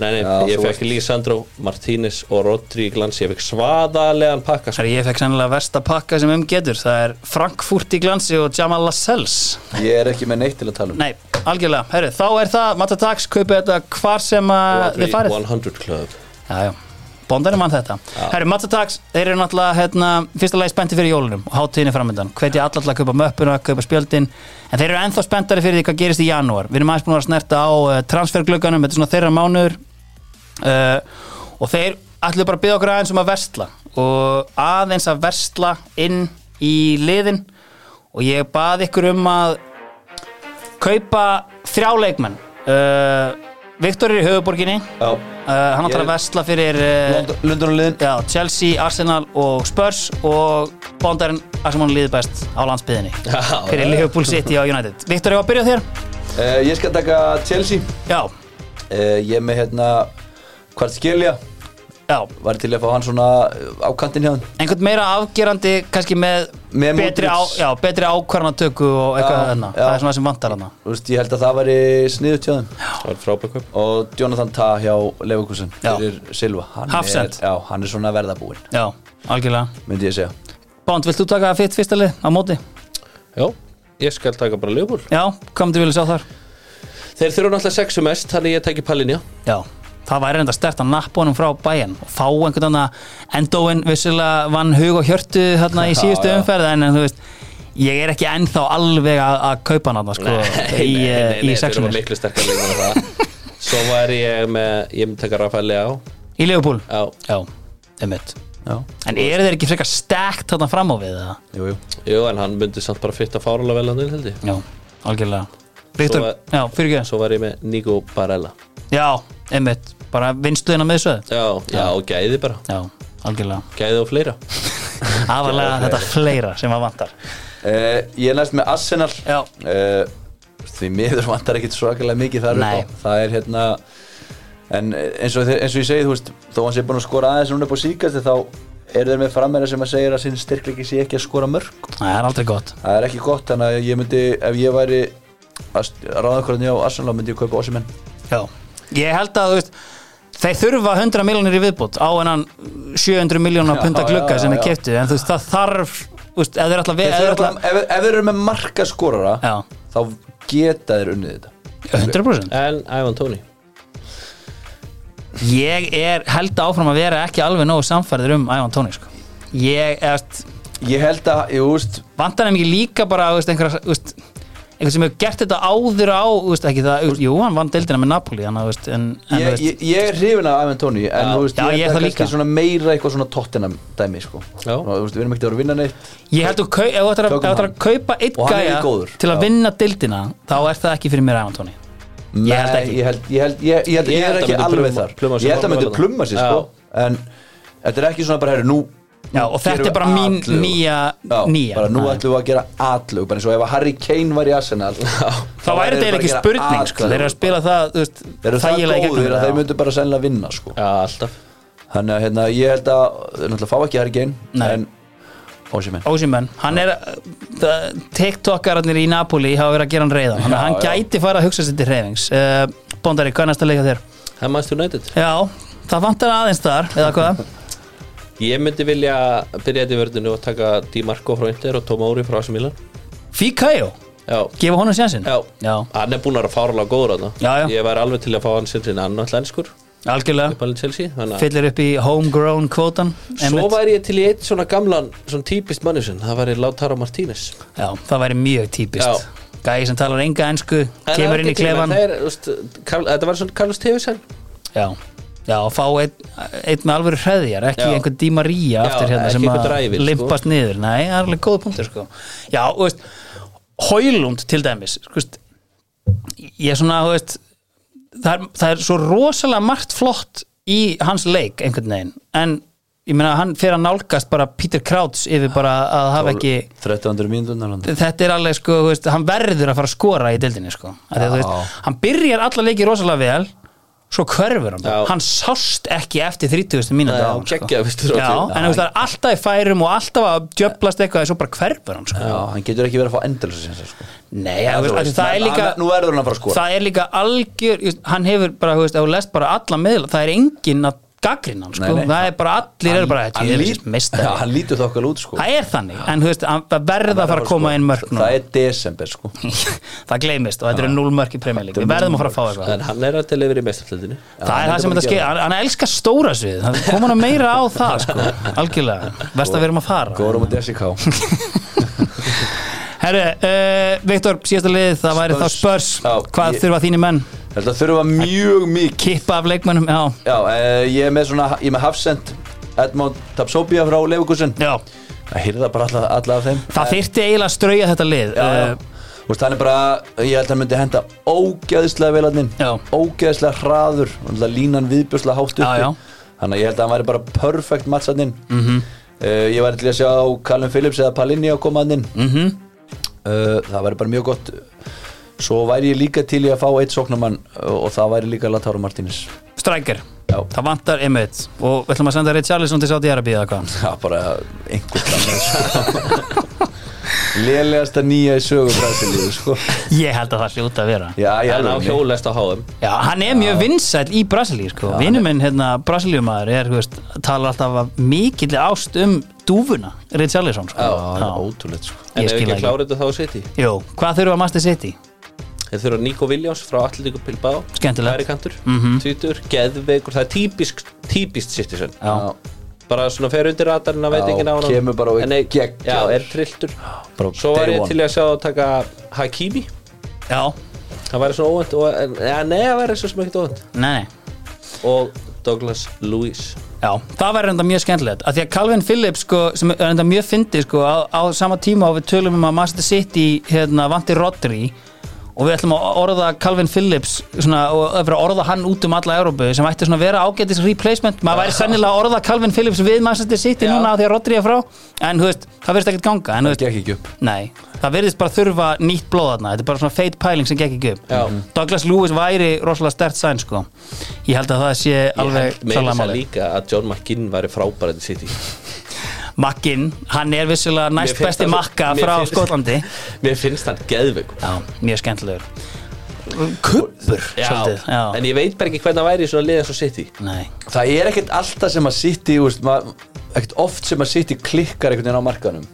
B: Nei, nei,
C: Já,
B: ég
C: þú
B: fekk Lísandro, Martínez og Rodri í glansi Ég fekk svaðalegan pakka sko.
A: Herri, ég fekk sennilega versta pakka sem um getur Það er Frankfurt í glansi og Jamal Lascelles
C: Ég er ekki með neitt til að tala um
A: Nei, algjörlega, herru, þá er það Mats Attacks, kaupið þetta hvar sem að
B: Rodri
A: þið farið
B: 100 Club
A: Já, já Bondar er mann þetta Herru, Mattatags, þeir eru náttúrulega hérna, fyrsta lagi spennti fyrir jólunum og hátíðinni framöndan hvetja alla til að kaupa möppuna, kaupa spjöldin en þeir eru ennþá spenntari fyrir því hvað gerist í janúar við erum aðeins búin að vera að snerta á uh, transferglögganum þetta er svona þeirra mánuður uh, og þeir ætluðu bara að byggja okkur aðeins um að versla og aðeins að versla inn í liðin og ég bað ykkur um að kaupa þrjá leikmenn uh, Viktor er í höfuborginni
C: Já.
A: Uh, hann ætlar
C: Ég-
A: að vesla fyrir uh,
C: London- London og liðin
A: já, Chelsea, Arsenal og Spurs og bóndarinn Arsenal liði best á landsbyðinni
B: Já,
A: fyrir
B: já.
A: Liverpool City á United Viktor, ég var að byrja á þér
C: uh, Ég skal taka Chelsea Eh,
A: já,
C: uh, Ég er með hérna Hvart skilja
A: Já.
C: var til að fá hann svona eh, á kantinn hjá hann
A: einhvern meira afgerandi kannski með,
C: Með
A: betri, á,
C: Modric.
A: já, betri ákvarðanatöku og eitthvað
C: Já,
A: þarna
C: já.
A: það er svona það sem vantar hana
C: Þú veist, ég held að það væri sniðut hjá þeim
B: það var frábæk kaup
C: og Jonathan Ta hjá Leverkusen
A: Já.
C: fyrir Silva hann er,
A: Hafsend.
C: já, hann er svona verðabúinn
A: já, algjörlega
C: myndi ég segja
A: Bánd, vilt þú taka það fyrst fyrsta lið á móti?
B: já, ég skal taka bara lögbúl
A: já, hvað myndir vilja sjá þar?
B: þeir þurfa náttúrulega sexu mest, þannig ég tæki Palinja
A: já, það væri enda stert að nappa honum frá bæinn og fá einhvern annað endóin vissilega vann hug og hjörtu þarna í síðustu
C: já.
A: umferð en, en þú veist ég er ekki ennþá alveg að, að kaupa hann þarna, sko, í, nei, nei, í um
B: þeir eru
A: sexunni
B: miklu sterkar leikmenn en það svo var ég með, ég myndi taka Rafael Leá
A: í Leopold
B: já,
A: já, einmitt
C: já,
A: En eru þeir ekki frekar stækt þarna fram á við það?
C: jú, jú
B: jú, en hann myndi samt bara fitta fáralega vel hann inn, held ég
A: Já, algjörlega Viktor,
B: Svo-
A: já, fyrir ekki
B: svo var ég með Nico Barella
A: Já, einmitt, bara vinstu þina með þessu
B: já, já, og gæði bara,
A: Já, algjörlega
B: gæði og fleira
A: Afarlega
B: Já,
A: þetta fleira sem að vantar
C: Uh, ég er næst með Arsenal
A: Já.
C: Eh, Því miður vantar ekkit svakalega mikið þar
A: Nei.
C: upp á Það er hérna En eh, eins og, þe- eins og ég segi, þú veist Þó hann sé búin að skora aðeins núna upp á síkast Þá eru þeir með frammeira sem að segja að sinn styrkleiki sé ekki að skora mörg
A: Það er aldrei gott
C: Það er ekki gott, þannig að ég myndi Ef ég væri að st- að ráða hvernig á Arsenal þá myndi ég kaupa Ossimenn
A: Já, ég held að þú veist Þeir þurfa 100 miljónir í viðbútt á hennan 700 miljónar
C: Já,
A: punta
C: já,
A: glugga sem
C: já,
A: þeir
C: já.
A: keftu en þú veist, það þarf þú veist, ef þeir ætla að
C: Ef
A: við- ef
C: þeir
A: þeir
C: ætla-
A: ætla-
C: ef- ef þeir eru með marka skorara
A: Já.
C: Þá geta þeir unnið þetta
A: 100%
B: en Ivan Tóni
A: Ég er held áfram að vera ekki alveg nógu samfærður um Ævan Tóni sko. Ég, eða
C: Ég held að, ég veist
A: vantar hann ekki líka bara þú veist, einhver, veist, einhver sem hefur gert þetta áður á þú veist, ekki það, þú veist, jú, hann vann deildina með Napoli þannig, að, þú veist, en, en
C: Ég,
A: þú veist,
C: ég, ég er hrifin af Ivan Tóni en
A: Já.
C: þú veist,
A: Já,
C: ég
A: ég
C: held
A: það
C: að
A: líka.
C: kannski svona meira eitthvað svona Tottenham dæmi sko.
B: Já.
C: Svona, þú veist, við erum ekkert að vera að vinna neitt
A: ég, held þú kau, ef þú ættir að,
C: Tökum
A: ef þú ættir að
C: hann.
A: kaupa einn
C: Og hann er
A: gæja
C: góður.
A: til að
C: Já.
A: vinna deildina þá er það ekki fyrir mér Ævan Tóni Ég held
C: Nei,
A: ekki.
C: ég held, ég held, ég, ég held, ég
B: Ég
C: er
B: held að
C: ekki
B: myndi
C: alveg
B: pluma-
C: þar
B: pluma sig
C: ég held að myndi
B: bara-
C: plumma sér sko, en þetta er ekki svona bara herri, nú,
A: Já, og þetta er bara mín nýja-
C: já,
A: nýja.
C: bara nú
A: Nei.
C: ætlum við að gera atlug bara eins og ef að Harry Kane var í Arsenal
A: þá væri þetta eiginlega ekki spurning sko. þeir eru að spila það þú veist,
C: þeir eru það
A: þægilega í
C: góðir að þeir
A: gegnum
C: myndu bara sennilega vinna sko.
B: já, alltaf
C: þannig að hérna, ég held að þeir náttúrulega fá ekki Harry Kane
A: Nei.
C: en Ósimenn
A: Ósimenn, hann er það- tiktokararnir í Napoli hafa verið að gera hann reyðan þannig að
C: Já,
A: hann
C: já.
A: gæti fara að hugsa sér til reyðings uh, Bondari, hvað er næsta leika þér?
B: Hemmast United
A: Já, það vantar aðeins þar eða hvað?
B: ég myndi vilja byrja þetta í vörðinu og taka Di Marco frá Inter og Tomori frá AC Milan
A: Fíkajó,
B: já,
A: gefa honum sjansinn
B: já,
A: já,
B: hann er búin að vera fáralega góður þarna.
A: Já, já.
B: ég væri alveg til að fá hann sem sinna annan allenskur
A: algjörlega
B: uppalinn Chelsea þannig að
A: fyllir upp í homegrown kvótan
B: Svo
A: einmitt.
B: væri ég til í eitt svona gamlan, svona típist manni sinn, það væri Lautaro Martínez
A: já, það væri mjög
B: Já.
A: típist gæði sem talar enga ensku
B: En það
A: kemur
B: er
A: inn í
B: ekki tíma,
A: klefan
B: það er, þú veist, Karl- Þetta var svona Carlos Tevesen
A: já, já, og fá einn einn með alvöru hreðjar, ekki
B: Já.
A: einhvern Di Maria
B: Já,
A: aftur hérna
B: ekki
A: sem
B: einhvern
A: að
B: ræfil, sko.
A: limpast niður nei, það er alveg góð punktur sko já, þú veist, hólund til dæmis sko, veist, ég er svona, þú veist það er, það er svo rosalega margt flott í hans leik einhvern veginn en ég meina hann fer að nálgast bara Peter Krauts yfir bara að hafa ekki
C: 1300 mínútur
A: þetta er alveg sko, þú veist, hann verður að fara að skora í deildinni sko Af því að, þú veist, hann byrjar alla leiki rosalega vel svo hverfur hann,
B: Já.
A: hann sást ekki eftir 30. mínúti
B: Já,
A: á honum,
B: geggjað, veistu,
A: sko. Já,
B: Rodri.
A: en þú veist, það er alltaf í færum og alltaf að djöplast eitthvað en svo bara hverfur hann sko.
C: Já, hann getur ekki verið að fá endalösa sér sko.
A: nei, ja, veist, veist, það er líka
C: Nú verður hann að fara að skora
A: það er líka algjör just, hann hefur bara, þú veist, ef þú lest bara alla miðla það er enginn að gaggrinn hann sko.
C: Nei, nei.
A: það er bara, allir eru bara þetta
C: Hann
A: ég er
C: lít-
A: þessi meistari.
C: Já, Hann lítur þokkal út sko.
A: það er þannig, en þú veist, hann verður að fara að koma inn mörg núna.
C: Það er desember sko.
A: það gleymist og þetta eru núl mörk í premjölík við verðum að fara að fá eitthvað
B: En hann er að til yfir í mestartildinu
A: það er
C: hann
A: það sem þetta
C: getur bara
A: skeið, hann, hann elskar stóra svið hann kom hann meira á það sko algjörlega, verst að við erum að fara
C: Górum og Desiká
A: herru, uh, Viktor, síðasta lið það væri þá
C: Spurs.
A: spörs,
C: Já,
A: hvað
C: ég-
A: þurfa þínir menn
C: Þetta þurfa mjög mikið
A: kippa af leikmönnum, já,
C: Já, eh, ég er með svona Ég er með Hafsend Edmond Tapsopia frá Lefukusin
A: já
C: Það hýrða bara alla, alla af þeim
A: það þyrfti eiginlega að strauja þetta lið
C: Já, já.
A: Eh,
C: Ehm, Þú veist, hann er bara, ég held að hann myndi henda ógeðslega velarninn,
A: Já.
C: ógeðslega hraður, náttúrulega línan viðbjörslega hátt uppi.
A: Já, já.
C: Þannig að ég held að hann væri bara perfect matchaninn. Mm -hmm. ég væri til í að sjá Callum Phillips eða Palinni að koma hann inn. Mm -hmm. það væri bara mjög gott. Svo væri ég líka til í að fá eitt sóknumann uh, og það væri líka Latáru Martínez.
A: Strækir
C: Já.
A: það vantar einmitt og við ætlum að senda Richarlison til Saudi Arabia eða hvað
C: Já, bara einhvern annan sko. Lélegasta nýja í sögu Brasilíu sko.
A: ég held að það hljóta að vera
C: Já, já,
B: En á hjólest á HM
A: Já, hann er mjög vinsæll í Brasilíu sko. Vinuminn, hérna, Brasilíumæður er, þú veist, talar alltaf af mikill ást um dúfuna, Richarlison sko.
C: Það er ótrúlegt sko.
B: En
A: Ég
B: ef
A: skil
B: ekki
A: það ekki.
B: klára þetta þá að setja
A: Jó, hvað þurfa að Master City?
B: Þeir þurfa Nico Williams frá Atletico Bilbao
A: Skemmtilegt. Mhm.
B: Hægri kantur, mm -hmm. tvítur, geðveikur Það er típisk, típist Citizen
A: Já,
B: Bara svona fer undir ratarinn að veit
C: Já,
B: ekki ná honum.
C: kemur bara og er
B: En nei,
C: geggjaður.
B: Já, er trilltur
C: Bara
B: Svo var
C: day
B: ég
C: one.
B: til í að sjá að taka Hakimi
A: já,
B: Það væri svona óvænt og, en, ja, Nei, það væri svo sem ekkert óvænt
A: nei, nei
B: Og Douglas Lewis
A: Já, það væri enda mjög skemmtilegt að því að Calvin Phillips sko, sem er enda mjög fyndi sko, á, á sama tíma og við tölum um að Master City hérna, vanti Rodri og við ætlum að orða Calvin Phillips svona, og að vera að orða hann út um alla Európu sem ætti svona að vera ágætis replacement maður væri sennilega að orða Calvin Phillips við Master City
B: Já.
A: núna af því að Rodri er frá en þú veist, það verðist ekkert ganga en, þú veist,
C: Gekk ekki upp
A: Nei, það verðist bara þurfa nýtt blóð þarna Þetta er bara svona feit pæling sem gekk ekki upp Mhm.
B: Já.
A: Douglas Lewis væri rosalega stert sæn sko. Ég held að það sé alveg
B: Ég meina
A: klárlega
B: þess að
A: málið.
B: líka að John McGinn væri frábærið City
A: Makkinn, hann er vissulega
B: Mér
A: næst
B: finnst
A: besti
B: það svo-
A: makka
B: mér
A: frá
B: finnst-
A: Skotlandi
B: Mér finnst hann geðveikur
A: Já, mjög skemmtilegur Kuppur, svolítið
B: en
A: Já,
B: ég veit bara ekki hvernig það væri í svona liða svo City
A: nei
C: Það er ekkert alltaf sem að sitt í ekkert oft sem að sitt í klikkar einhvern veginn á markanum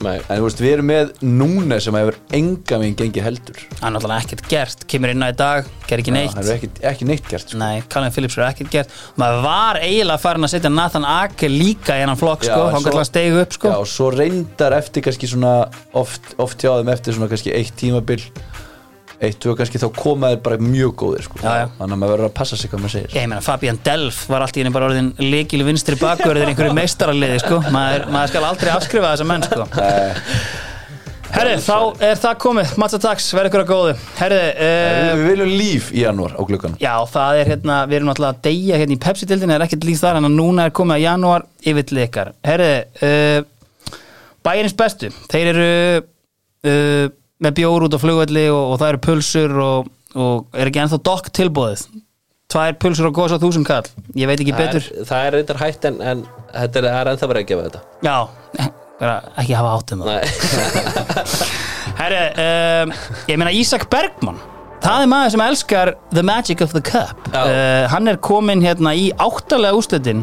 B: Nei.
C: En þú veist, við erum með núna sem hefur enga minn gengið heldur
A: Hann er náttúrulega ekkert gert, kemur inn á í dag, ger ekki neitt
C: Það er ekki, ekki neitt gert sko.
A: Nei, Colin Phillips er ekkert gert Maður var eiginlega farin að setja Nathan Ake líka í hennan flokk
C: Já,
A: sko,
C: en
A: hann
C: svo-
A: kallar að stegu upp sko
C: Já, og svo reyndar eftir kannski svona oft, oft hjá þeim eftir svona kannski eitt tímabil eitt, tvö kannski þá koma þeir bara mjög góðir sko.
A: Já, já.
C: þannig að maður verður að passa sig hvað maður segir
A: Ég meina, Fabian Delf var allt í henni bara orðin leikil vinstri bakverðir einhverju meistaraliði, sko. Maður, maður skal aldrei afskrifa þessa menn, sko. Herri, þá er það komið. Matsa Tax, verð ykkur að góðu. Herri, uh,
C: Við viljum líf í janúar á gluggan
A: já, það er hérna, við erum alltaf að deyja hérna í Pepsi-dildinu, er ekkert líf þar, en að núna er komið að janúar yfir til ykkar. Herri, uh, bæjarins bestu, þeir eru uh, með bjór út á flugvelli og, og það eru pulsur og, og er ekki ennþá dokk tilbúðið. Tvær pulsur og góðs á þúsund kall. Ég veit ekki
B: það,
A: betur.
B: er, það er reyndar hægt en, en þetta er, það er ennþá verið að gefa þetta
A: Já, bara ekki hafa áttum það
B: Nei.
A: Herri, um, ég meina Ísak Bergman Það er maður sem elskar The Magic of the Cup
B: Já.
A: uh, Hann er kominn hérna í áttalega úslitin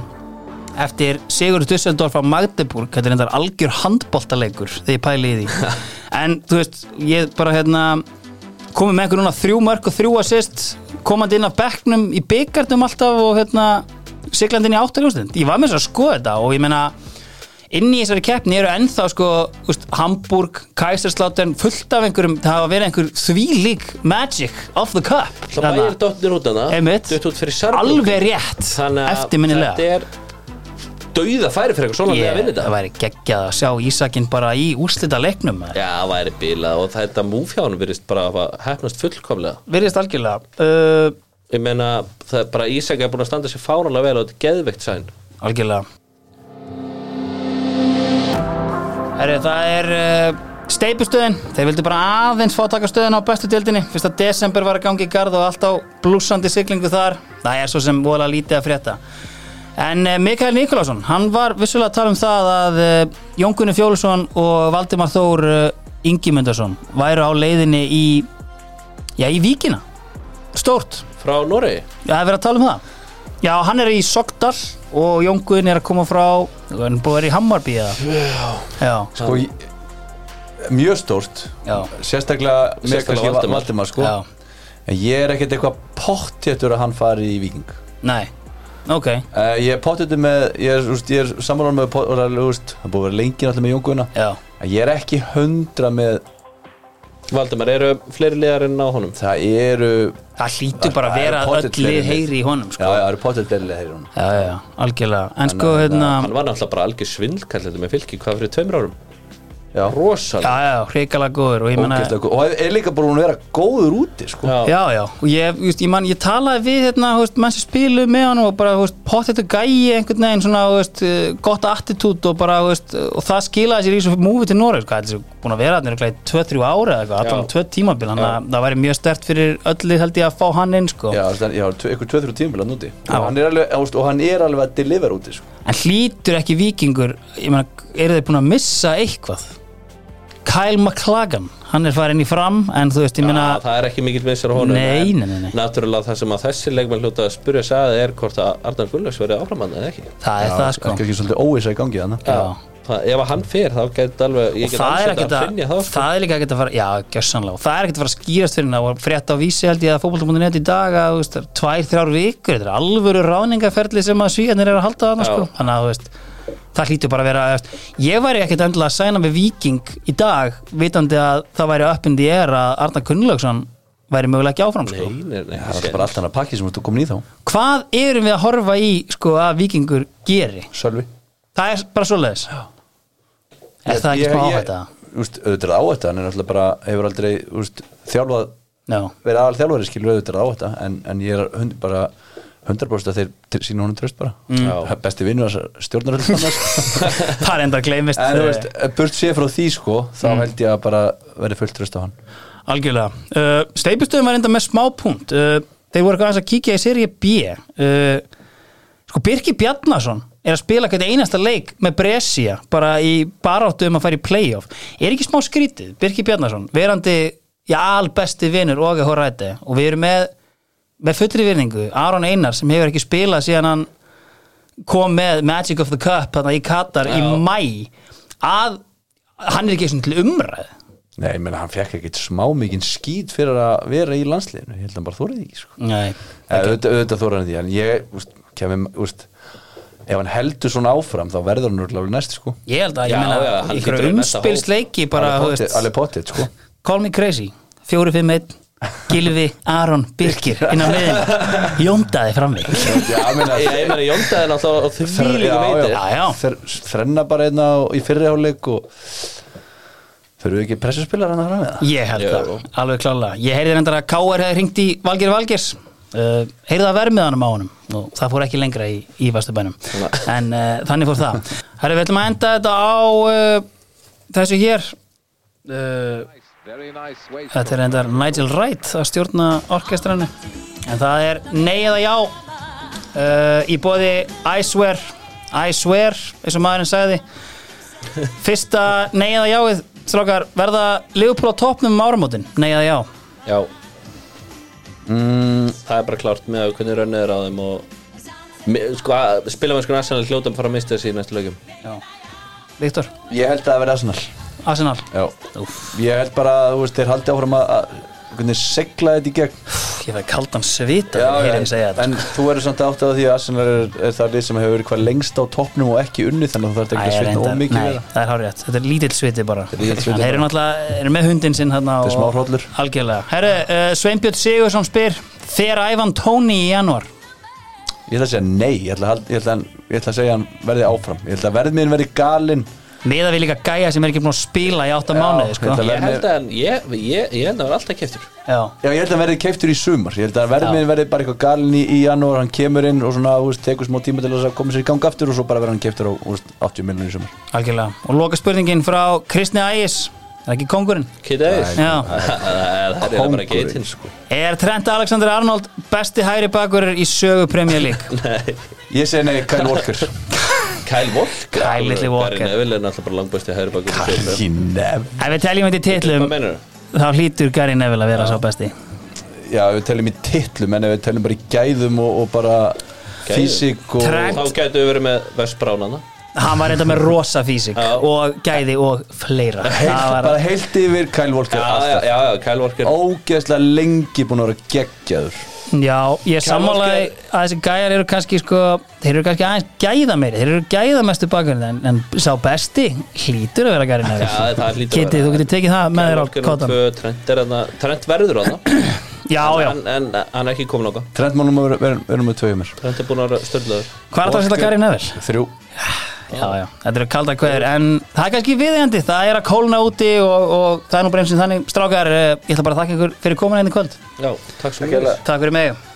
A: eftir Sigur Dusseldorf á Magdeburg þetta er endar algjör handboltaleikur þegar ég pæli í því en þú veist, ég bara hérna komið með einhver núna þrjú mörg og þrjú assist komandi inn af bekknum í byggarnum alltaf og hérna siglandi inn í áttaljóðstund, ég var með þess að skoða þetta og ég meina inn í þessari keppni eru ennþá sko úst, Hamburg, Kaiserslautern, fullt af einhverjum það hafa verið einhver þvílík magic of the cup
B: Svo bæjar dottir út hana
A: Hérna. Einmitt.
B: Dutt út fyrir Sarbrúk
A: alveg rétt,
B: Þetta
A: eftirminnilega
B: er dauða færi fyrir eitthvað svona yeah. að vinna
A: það
B: þetta
A: væri geggjað að sjá Ísakin bara í úslita leiknum
B: Já, það væri bílað og þetta múfjánum virðist bara að hafa hefnast fullkomlega
A: virðist algjörlega uh,
B: Ég meina, það er bara Ísak er búin að standa sér fánalega vel og þetta er geðveikt sæn
A: algjörlega Herri, það er uh, steipustöðin, þeir vildu bara aðeins fá að taka stöðin á bestu tildinni fyrsta desember var að gangi í garð og allt á blúsandi siglingu þar, það er svo sem vola lítið að frétta En eh, Mikael Nikolásson, hann var vissulega að tala um það að eh, Jón Gunni Fjólusson og Valdimar Þór Ingimundarsson væru á leiðinni í, já, í Víkina. Stórt,
B: Frá Noregi
A: Já, það er verið að tala um það. Já, hann er í Sogdal og Jón Guðin er að koma frá, hann er búið að vera í Hammarby eða? Já.
C: sko, ég- Mjög stórt
A: Já.
C: Sérstaklega með
B: Sérstaklega
C: kannski
B: Valdimar.
C: Valdimar,
A: Já,
C: Valdimar sko. En ég er ekkert eitthvað pottjættur að hann fari í viking
A: nei, ok,
C: uh, Ég er pottjættur með Ég er, úst, ég er sammálan með pot- og Það er, úst, hann er búið að vera lengi náttúrulega með Jónguna
A: já.
C: En ég er ekki hundra með
B: Valdimar, eru fleiri liðar en á honum?
C: Það eru
A: Það hlýtur bara að vera að
C: Það er pottet
A: öll lið
C: fyrir-
A: heyri í honum,
C: Já,
A: sko.
C: það eru pottjættur delilega þeir hún
A: Já, já, já, algjörlega. En sko,
C: að-
A: hérna,
B: Hann var náttúrulega bara algjör svindl kallið með fylki hvað fyrir tveimur árum
C: Já.
B: rosalega
A: já, já, hrikalega góður og ég menna
C: Ógeðslega góð. og er líka bara búin að vera góður úti sko.
B: Já.
A: Já, já, og ég, just, ég, man, ég talaði við hérna, þú veist, menn sem spiluðu með hann og bara, þú veist, pottet og gæi einhvern veginn svona, þú veist, eh, gott attitút og bara, þú veist, og það skilaði sér í þessu múfi til Noreg, sko. hvað, þessu, búin að vera þannig í 2-3 ára eða eitthvað,
B: Já.
A: allan 2 tímabil þannig að það væri mjög stert fyrir öllu held ég að fá hann inn, sko
C: Já, þannig- já, tve- einhver 2-3 tíma hann úti
A: Já.
C: og hann, er alveg, ást, og hann er alveg að deliver úti sko.
A: en hlýtur ekki vikingur ég meina, eru þeir búin að missa eitthvað Kyle McLagan hann er farin í fram, en þú veist, ég meina
B: Já, Ah, það er ekki mikill vinsar á honum
A: Nei,
B: en
A: nei, nei, nei.
B: Náttúrulega það sem að þessi leikmenn hljóta að spyrja sagði er hvort að Arnar Gunnlaugs verið áframann eða ekki Ah,
A: það er það, sko
C: er ekki svolítið óvisa í gangi þannig
A: Já.
B: Það, ef að hann fer þá get alveg
A: og
B: ég get
A: það er
B: alls
A: ekkert
B: þetta að
A: að,
B: finja það sko.
A: það er líka ekkert að fara já, gjössanlega, og það er ekkert að fara að skýrast fyrir það og frétt á vísi held ég að fótbolta.net í dag að, þú veist, það er tvær, þrjár vikur þetta er alvöru ráningaferli sem að svíðanir er að halda þarna,
B: Já.
A: sko, þannig að, þú veist það hlýtur bara að vera, þú veist, ég væri ekkert endilega að sæna með viking í dag vitandi að það væri uppindi er að Arna Kunnlaugsson væri mögulega ekki áfram, sko
B: Nei, nei, nei,
C: það
B: sér.
C: er bara allt hann að pakki sem þú ert komin í þá
A: hvað erum við að horfa í, sko, að vikingur geri,
C: Sölvi
A: það er bara svoleiðis er það ekki
C: Ég-
A: smá
C: ég-
A: áhætta?
C: þú veist, auðvitað er það áhætta hann er náttúrulega bara, hefur aldrei þú veist, þjálfað,
A: Já,
C: verið aðal þjálfari skilur auðvitað er það áhætta en, en ég er hund, bara 100% að þeir til- sýna honum tröst bara
A: Mm.
B: Já.
C: besti vinnu þessar stjórnar öll annars
A: það er enda að gleymist
C: en þú
A: eh,
C: veist, burt sé frá því sko þá
A: Mm.
C: held ég að bara verið fullt tröst á hann
A: Algjörlega. Uh, Steipistöðum var enda með smá punkt. Uh, þeir voru eitthvað aðeins að kíkja í seri B. Uh, sko, Birkir Bjarnason er að spila hvernig einasta leik með Brescia bara í baráttu um að fara í playoff. Er ekki smá skrítið? Birkir Bjarnason, verandi í albesti vinur og að horra þetta og við erum með, með fullri virðingu Aron Einar sem hefur ekki spilað síðan hann kom með Magic of the Cup þarna í Katar í
B: Já.
A: mæ að hann er ekki einu sinni til umræð
C: Nei, ég menn hann fekk ekkit smá mikinn skýt fyrir að vera í landsliðinu, ég held að hann bara þórið ekki sko.
A: Nei,
C: okay. auðvitað, auðvitað þóra hann því en ég, úst, kemum, úst, ef hann heldur svona áfram þá verður hann örugglega alveg næst sko.
A: Ég held að, ég
B: Já, já,
A: meina,
B: hann
A: ykkur
B: hlýtur að mesta
A: umspilsleiki bara, þú
C: alveg,
A: veist,
C: potið, alveg potið sko.
A: call me crazy 451, Gilvi, Aron, Birkir inn á miðin, jóndaði frammi
C: já, meina,
B: Ég ég meina Jóndaði náttúrulega á því líka
C: já,
B: veitir
A: Já, já.
C: Þr, þrenna bara einna á, í fyrriháleik og þurfum við ekki pressuspilar hann að fram með það
A: Ég held
B: Jú.
A: það, alveg klálega Ég heyrði reyndar að KR hefði hringt í Valgeri Valgers uh, heyrði að verð með honum á honum og það fór ekki lengra í, í Vasturbænum en uh, þannig fór það Herri, við ætlum að enda þetta á uh, þessu hér uh,
D: Very nice way.
A: Þetta er reyndar Nigel Wright að stjórna orkestrannu en það er nei eða já uh, í bóði I swear I swear, eins og maðurinn sagði fyrsta nei eða jáið strákar, verða Liverpool á toppnum um áramótin, nei eða já
B: Já
C: Mm.
B: Það er bara klárt með að hvernig rönnið er á þeim og Mi- sko, spila með sko Arsenal hljóta að fara að mista þessi í næstu lögjum
A: Viktor,
C: ég held að það verði Arsenal
A: Arsenal
C: já.
A: Úf,
C: ég held bara að þú veist, þeir haldi áfram að, að einhvern veginn segla þetta í gegn
A: ég fæði kaldan svita
C: Já,
A: þegar ég heyri þig segja
C: en,
A: þetta
C: en þú verður samt átt á því að Arsenal er, er það lið sem hefur verið hvað lengst á toppnum og ekki unni þannig að þú
A: Æ,
C: þarf ekki að svitna
A: reyndar-
C: of mikið
A: nei,
C: við það
A: það er hárétt, þetta er lítill sviti bara
C: er lítill sviti
A: en þeir eru náttúrulega eru með hundin sinn þarna
C: Þetta er
A: og-
C: smá hrollur.
A: algjörlega, herru, uh, Sveinbjörn Sigursson spyr fer Ævan Tóni í januar
C: Ég ætla að segja nei, ég ætla að, hald- ég ætla að, ég ætla að segja hann verði áfram Ég ætla að verðmiðin verði galinn
A: meða við líka gæja sem er ekki búin að spila í 8
C: Já,
A: mánuði sko.
C: þetta
B: Ég
C: Verðið-
B: held að hann, ég, ég, ég held að hann var alltaf keftur
A: já,
C: Já, ég held að hann verði keiftur í sumar Ég held að verðmiðin verði bara eitthvað galinn í, í janúar Hann kemur inn og svona, þú veist, tekur smá tíma til þess að koma sér í gang aftur Og svo bara verði hann keiftur á, þú veist, 80 miljonir í sumar
A: algjörlega og loka spurningin frá Kristni Ægis er ekki kongurinn
B: Kittu aðeins
A: Já.
B: Það er bara geitin
C: sko.
A: er Trent Alexander Arnold besti hægri bakur í sögu Premier League
C: Ég segi nei, Kyle Walker
B: Kyle Walker
A: Kyle litli Walker.
B: Gary Neville er náttúrulega bara langbæsti hægri bakur
C: Ég nef
A: ef við teljum þetta í
B: Hvað
A: titlum
B: meinar
A: þá hlýtur Gary Neville að vera sá besti
C: Já, við teljum í titlum En ef við teljum bara í gæðum og, og bara
B: Gæðum.
C: Físik og
A: Trent.
B: Þá gætu við verið með Vess Bránana
A: hann var reynda með rosa físik
B: Já.
A: og gæði og fleira
C: heilt,
A: Það var-
C: Bara heilt yfir
B: Já,
C: Kyle Walker
B: já, já, já, Kyle Walker
C: Ógeðslega lengi búin að vera geggjaður
A: Já, ég sammálaði að þessi gæjar eru kannski sko, þeir eru kannski aðeins gæða meiri, þeir eru gæðamestu bakgrunni en, en sá besti hlýtur að vera gæri
B: Já,
A: nefnir.
B: það hlýtur að
A: Kitty,
B: vera.
A: þú getur tekið það með
B: Kyle
A: þér á
B: Walker og
A: kottan.
B: tvö, Trent er hann Trent verður hann
A: Já, já,
B: En en hann er ekki komin okkar
C: Trent mánum að vera, vera, vera með tvö hjá mér
B: Trent er búin að vera störðlaður
A: hvað er það að setja
C: Walker-
A: gæri nefnir?
C: Þrjú
A: já, já, þetta eru kaldar kveður en það er kannski viðeigandi, það er að kólna úti og, og það er nú bremsin þannig strákar, eh, ég ætla bara að þakka ykkur fyrir komuna einn í kvöld
B: Já, takk svo
C: Takk hérlega.
A: Takk fyrir mig